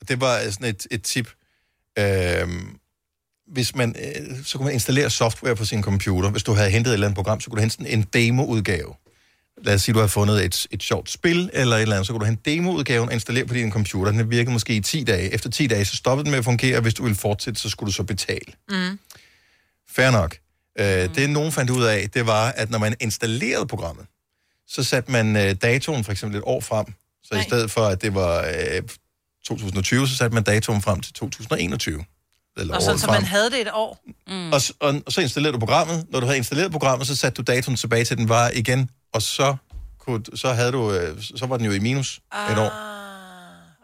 S1: Og det var sådan et, et tip. Øhm, hvis man, øh, så kunne man installere software på sin computer. Hvis du havde hentet et eller andet program, så kunne du hente sådan en demoudgave. Lad os sige, du har fundet et, et sjovt spil eller et eller andet, så kunne du hente demoudgaven og installere på din computer. Den virkede måske i 10 dage. Efter 10 dage, så stoppede den med at fungere, og hvis du ville fortsætte, så skulle du så betale.
S2: Mm.
S1: Fair nok. Øh, det nogen fandt ud af, det var, at når man installerede programmet, så satte man øh, datoen for eksempel et år frem. Så Nej. i stedet for, at det var øh, 2020, så satte man datoen frem til 2021. Eller
S2: Og
S1: året
S2: sådan, så
S1: frem.
S2: man havde det et år. Mm.
S1: og, s- og, og så installerede du programmet. Når du havde installeret programmet, så satte du datoen tilbage til den var igen, og så, kunne, så, havde du, øh, så var den jo i minus ah. et år.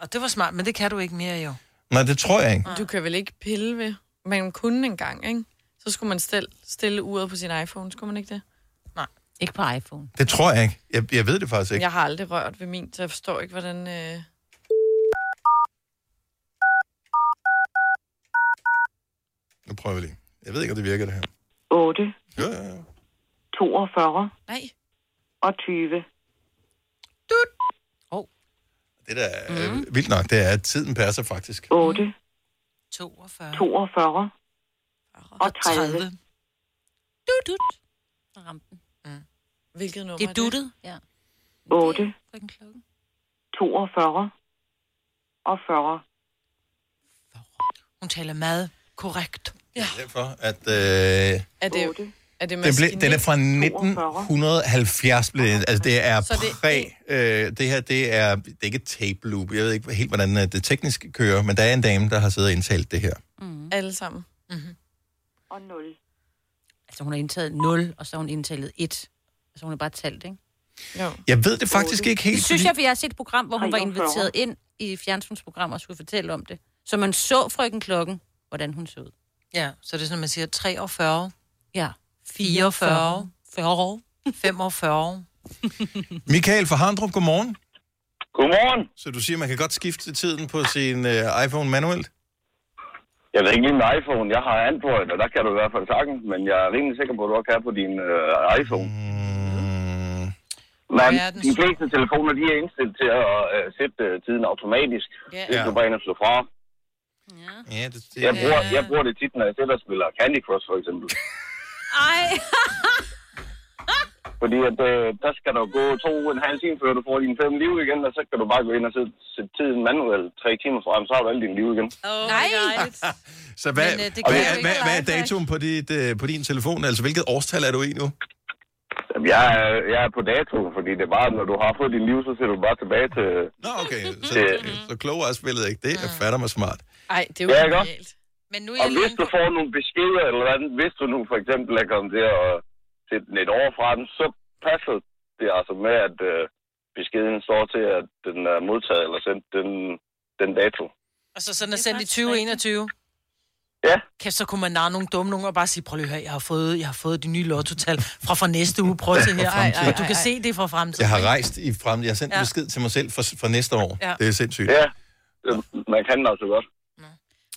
S2: Og det var smart, men det kan du ikke mere jo.
S1: Nej, det tror jeg ikke.
S4: Du kan vel ikke pille ved, men kun en gang, ikke? Så skulle man stille, stille uret på sin iPhone, skulle man ikke det?
S2: Nej.
S5: Ikke på iPhone.
S1: Det tror jeg ikke. Jeg, jeg ved det faktisk ikke.
S4: Jeg har aldrig rørt ved min, så jeg forstår ikke, hvordan... Øh...
S1: Nu prøver vi lige. Jeg ved ikke, om det virker, det her.
S20: 8,
S1: Ja, ja, ja.
S20: 42
S4: Nej.
S20: og 20.
S1: Det der er mm. vildt nok, det er, at tiden passer faktisk.
S20: 8,
S2: 42.
S20: 42 og 30.
S5: Du, du. Ramte den.
S4: Hvilket nummer
S5: Det er duttet. Ja.
S20: 8,
S5: Frøken klokken.
S20: 42 og 40.
S2: Hun taler meget korrekt.
S1: Ja. Derfor, at... Øh,
S4: Er det, er Er det
S1: Den, blev, den er fra 1970. Blev, den- altså, det er
S4: Så det er
S1: præ... Øh, det her, det er, det er ikke et tape loop. Jeg ved ikke helt, hvordan øh, det teknisk kører, men der er en dame, der har siddet og indtalt det her.
S4: Mm. Alle sammen.
S5: Mhm.
S4: Mm-hmm.
S20: Og 0.
S5: Altså, hun har indtaget 0, og så har hun indtaget 1. Altså, hun har bare talt, ikke?
S4: Jo.
S1: Jeg ved det faktisk ikke helt.
S5: Det synes
S1: fordi-
S5: jeg, for jeg har set et program, hvor hun var
S20: 43.
S5: inviteret ind i et fjernsynsprogram og skulle fortælle om det. Så man så frøken klokken, hvordan hun så ud.
S2: Ja, så det er sådan, man siger 43.
S5: Ja.
S2: 44. 40. 45.
S1: Michael fra Harndrup, godmorgen.
S13: Godmorgen.
S1: Så du siger, man kan godt skifte tiden på sin øh, iPhone manuelt?
S13: Jeg ved ikke lige med iPhone. Jeg har Android, og der kan du i hvert fald sagtens, men jeg er rimelig sikker på, at du også kan på din øh, iPhone. Men
S21: Mm. Hvor er den
S13: de fleste telefoner, de er indstillet til at øh, sætte øh, tiden automatisk,
S21: Ja.
S13: hvis
S21: Ja.
S13: du bare ind og slår fra.
S1: Ja, det,
S13: Jeg, bruger, jeg bruger det tit, når jeg sidder og spiller Candy Crush, for eksempel.
S5: Ej.
S13: Fordi at, øh, der skal der jo gå to og en halv time, før du får dine fem liv igen, og så kan du bare gå ind og sætte, sætte tiden manuelt tre timer frem, så har du alle dine liv igen.
S5: Oh, Nej.
S1: Så hvad,
S13: Men,
S1: Men,
S13: øh, det
S1: det
S13: kan
S1: hvad,
S13: jo
S1: er-
S13: ikke
S1: hvad,
S13: være
S1: hvad er
S13: lifehack.
S1: datoen på, dit, øh, på din telefon? Altså, hvilket årstal er du i nu?
S13: Jamen, Jeg er, jeg er på dato, fordi det er bare, når du har fået din liv, så ser du bare tilbage til...
S1: Nå, okay. Så, så klogere er spillet ikke. Det er fatter mig smart.
S4: Ej, det er jo
S13: Ja,
S4: ja,
S13: ikke også?
S4: genialt.
S2: Men nu
S13: Og hvis du får nogle beskeder eller andet, hvis du nu for eksempel er kommet til at sætte den et år fra den, så passer det altså med, at øh, beskeden står til, at den er modtaget eller sendt den, den dato.
S2: Og så sådan er sendt i 2021.
S13: Ja.
S2: Kæft, så kunne man narre nogle dumme nogen og bare sige, prøv lige at høre, jeg har fået, jeg har fået de nye lottotal fra fra næste uge. Prøv at se her.
S1: Fra fremtiden.
S2: Og du kan se det fra fremtiden.
S1: Jeg har rejst i frem. Jeg har sendt
S2: Ja.
S1: ja. besked til mig selv for, for næste år.
S5: Ja.
S1: Ja. Det er sindssygt.
S13: Ja, man kan altså godt.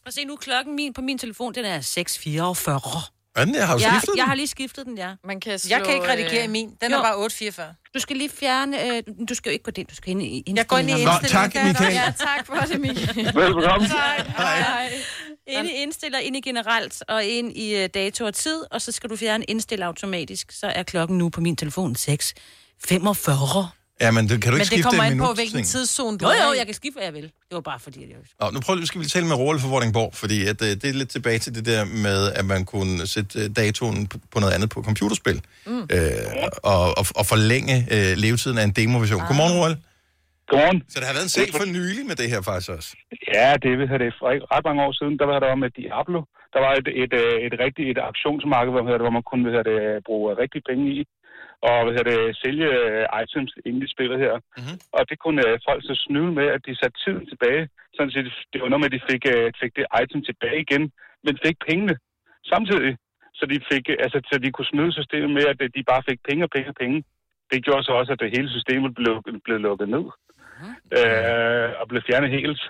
S5: Og se nu, klokken min på min telefon, den er 6.44.
S1: Anden, jeg har jo
S5: jeg,
S1: skiftet
S5: jeg har lige skiftet den, ja.
S4: Man kan
S2: Jeg kan ikke redigere i min. Den er bare 844.
S5: Du skal lige fjerne... Øh, du skal jo ikke på den, du skal ind i indstillingen.
S2: Jeg går ind i indstillingen.
S1: tak, Michael.
S5: Ja,
S1: Ja,
S5: tak for det, Michael.
S13: Velbekomme.
S5: Hej. Ind i indstiller, ind i generelt, og ind i øh, dato og tid, og så skal du fjerne indstille automatisk. Så er klokken nu på min telefon 6. 45.
S1: Ja, men det, kan du ikke
S5: Men det
S1: skifte
S5: kommer
S1: en
S5: an på,
S1: minut,
S5: hvilken
S1: ting?
S2: tidszone
S5: du
S2: er
S5: Jo, jo,
S2: i.
S5: jeg kan skifte, hvad jeg vil. Det var bare fordi, at jeg...
S1: Nå, nu prøver vi, skal vi tale med Roald fra Vordingborg, fordi at, øh, det er lidt tilbage til det der med, at man kunne sætte øh, datoen på, på noget andet på computerspil,
S22: Mm.
S1: øh, og, og, og forlænge øh, levetiden af en demoversion. Ah. Godmorgen, Roald.
S22: Godmorgen.
S1: Så der har været en sag for nylig med det her faktisk også.
S22: Ja, det vil have det. For ikke ret mange år siden, der var der om, at Diablo, der var et, et, øh, et rigtigt et auktionsmarked, hvad hedder det, hvor man kunne hvad hedder det, øh, bruge rigtige penge i, og hvad hedder det, sælge øh, items inde i spillet her.
S1: Mm-hmm.
S22: Og det kunne øh, folk så snyde med, at de satte tiden tilbage. Sådan set, det var noget med, at de fik, øh, fik det item tilbage igen, men fik pengene samtidig. Så de, fik, øh, altså, så de kunne snyde systemet med, at øh, de bare fik penge og penge og penge. Det gjorde så også, at det hele systemet blev, blev lukket ned øh, og blev fjernet helt.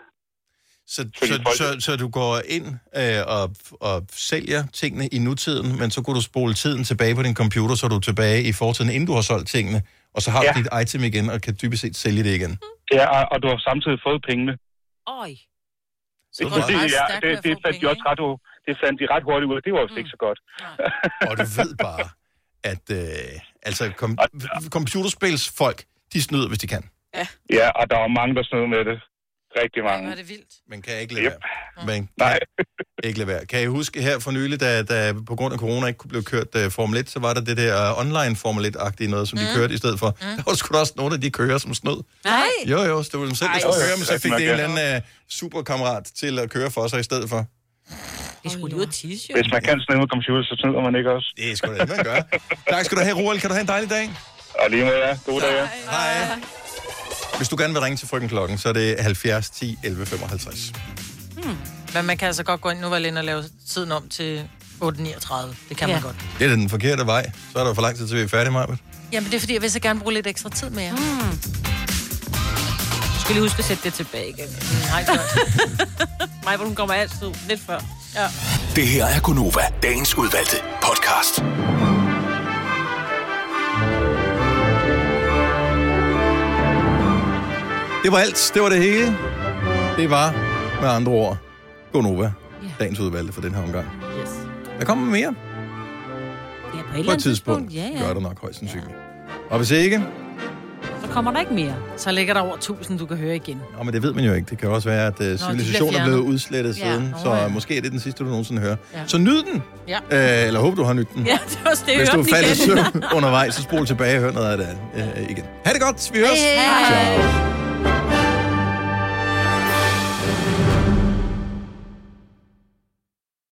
S1: Så, så, så, så du går ind øh, og, og sælger tingene i nutiden, men så kunne du spole tiden tilbage på din computer, så er du tilbage i fortiden, inden du har solgt tingene, og så har ja.
S22: Ja.
S1: du dit item igen, og kan dybest set sælge det igen.
S22: Ja, og, og du har samtidig fået pengene.
S5: Øj.
S22: Så det, det, ja, det, det, fandt de også ret, u- det fandt de ret hurtigt ud af. Det var jo mm. ikke så godt.
S1: og du ved bare, at øh, altså, kom, computerspilsfolk, de snyder, hvis de kan.
S22: Ja, og der var mange, der snød med det. Rigtig mange.
S2: Var det vildt?
S1: Man kan ikke lade yep. være. Man kan ikke lade være. Kan I huske her for nylig, da, da på grund af corona ikke kunne blive kørt uh, Formel 1, så var der det der uh, online Formel 1-agtige noget, som mm. de kørte i stedet for. Mm. Der var sgu da også nogle af de kører, som snød.
S5: Nej.
S1: Jo, jo, så det var dem selv, der
S5: Ej,
S1: skulle
S5: hvor
S1: køre, men så
S5: sødt,
S1: fik det
S5: man
S1: en
S5: kan.
S1: eller anden uh, superkammerat til at køre for sig i stedet for.
S5: Det skulle lige ud at tisse, jo.
S22: Hvis man kan snyde med computer, så snyder man ikke også.
S1: Det er sgu da det, man gør. Tak skal du have, Roald. Kan du have en dejlig dag?
S22: Og lige med jer. God dag, ja.
S1: Hej. Hvis du gerne vil ringe til frøken klokken, så er det 70 10 11 55.
S2: Hmm. Men man kan altså godt gå ind nu, var ind og lave tiden om til 8.39. Det kan ja. man godt.
S1: Det er da den forkerte vej. Så er der for lang tid til, vi er færdige, Maja.
S2: Jamen, det er fordi, jeg vil så gerne bruge lidt ekstra tid med jer. Mm.
S5: Du skal lige huske at sætte det tilbage igen.
S2: Nej,
S5: godt. Mig, hvor hun kommer altid lidt før. Ja.
S15: Det her er Gunova, dagens udvalgte podcast.
S1: Det var alt. Det var det hele. Det var med andre ord Gonova. Dagens udvalgte for den her omgang.
S5: Yes.
S1: Der kommer mere
S5: Ja,
S1: på et tidspunkt.
S5: Ja, ja.
S1: Gør det nok højst sandsynligt. Og hvis ikke,
S5: Så kommer der ikke mere.
S2: Så ligger der over 1000, du kan høre igen.
S1: Nå, men det ved man jo ikke. Det kan jo også være, at uh, civilisationen er
S2: fjernet.
S1: blevet udslettet
S2: Ja.
S1: ja. siden,
S2: Nå,
S1: så
S2: ja.
S1: måske er det den sidste, du nogensinde hører.
S5: Ja.
S1: Ja. Så nyd den!
S5: Ja.
S1: Øh, eller håber, du har nydt den.
S5: Ja, det var også det, jeg
S1: Hvis du
S5: hørte
S1: faldt i
S5: igen.
S1: søvn undervejs, så spol tilbage og hør noget af det øh, igen. Ha' det godt! Vi høres!
S5: Hej.
S1: Ciao.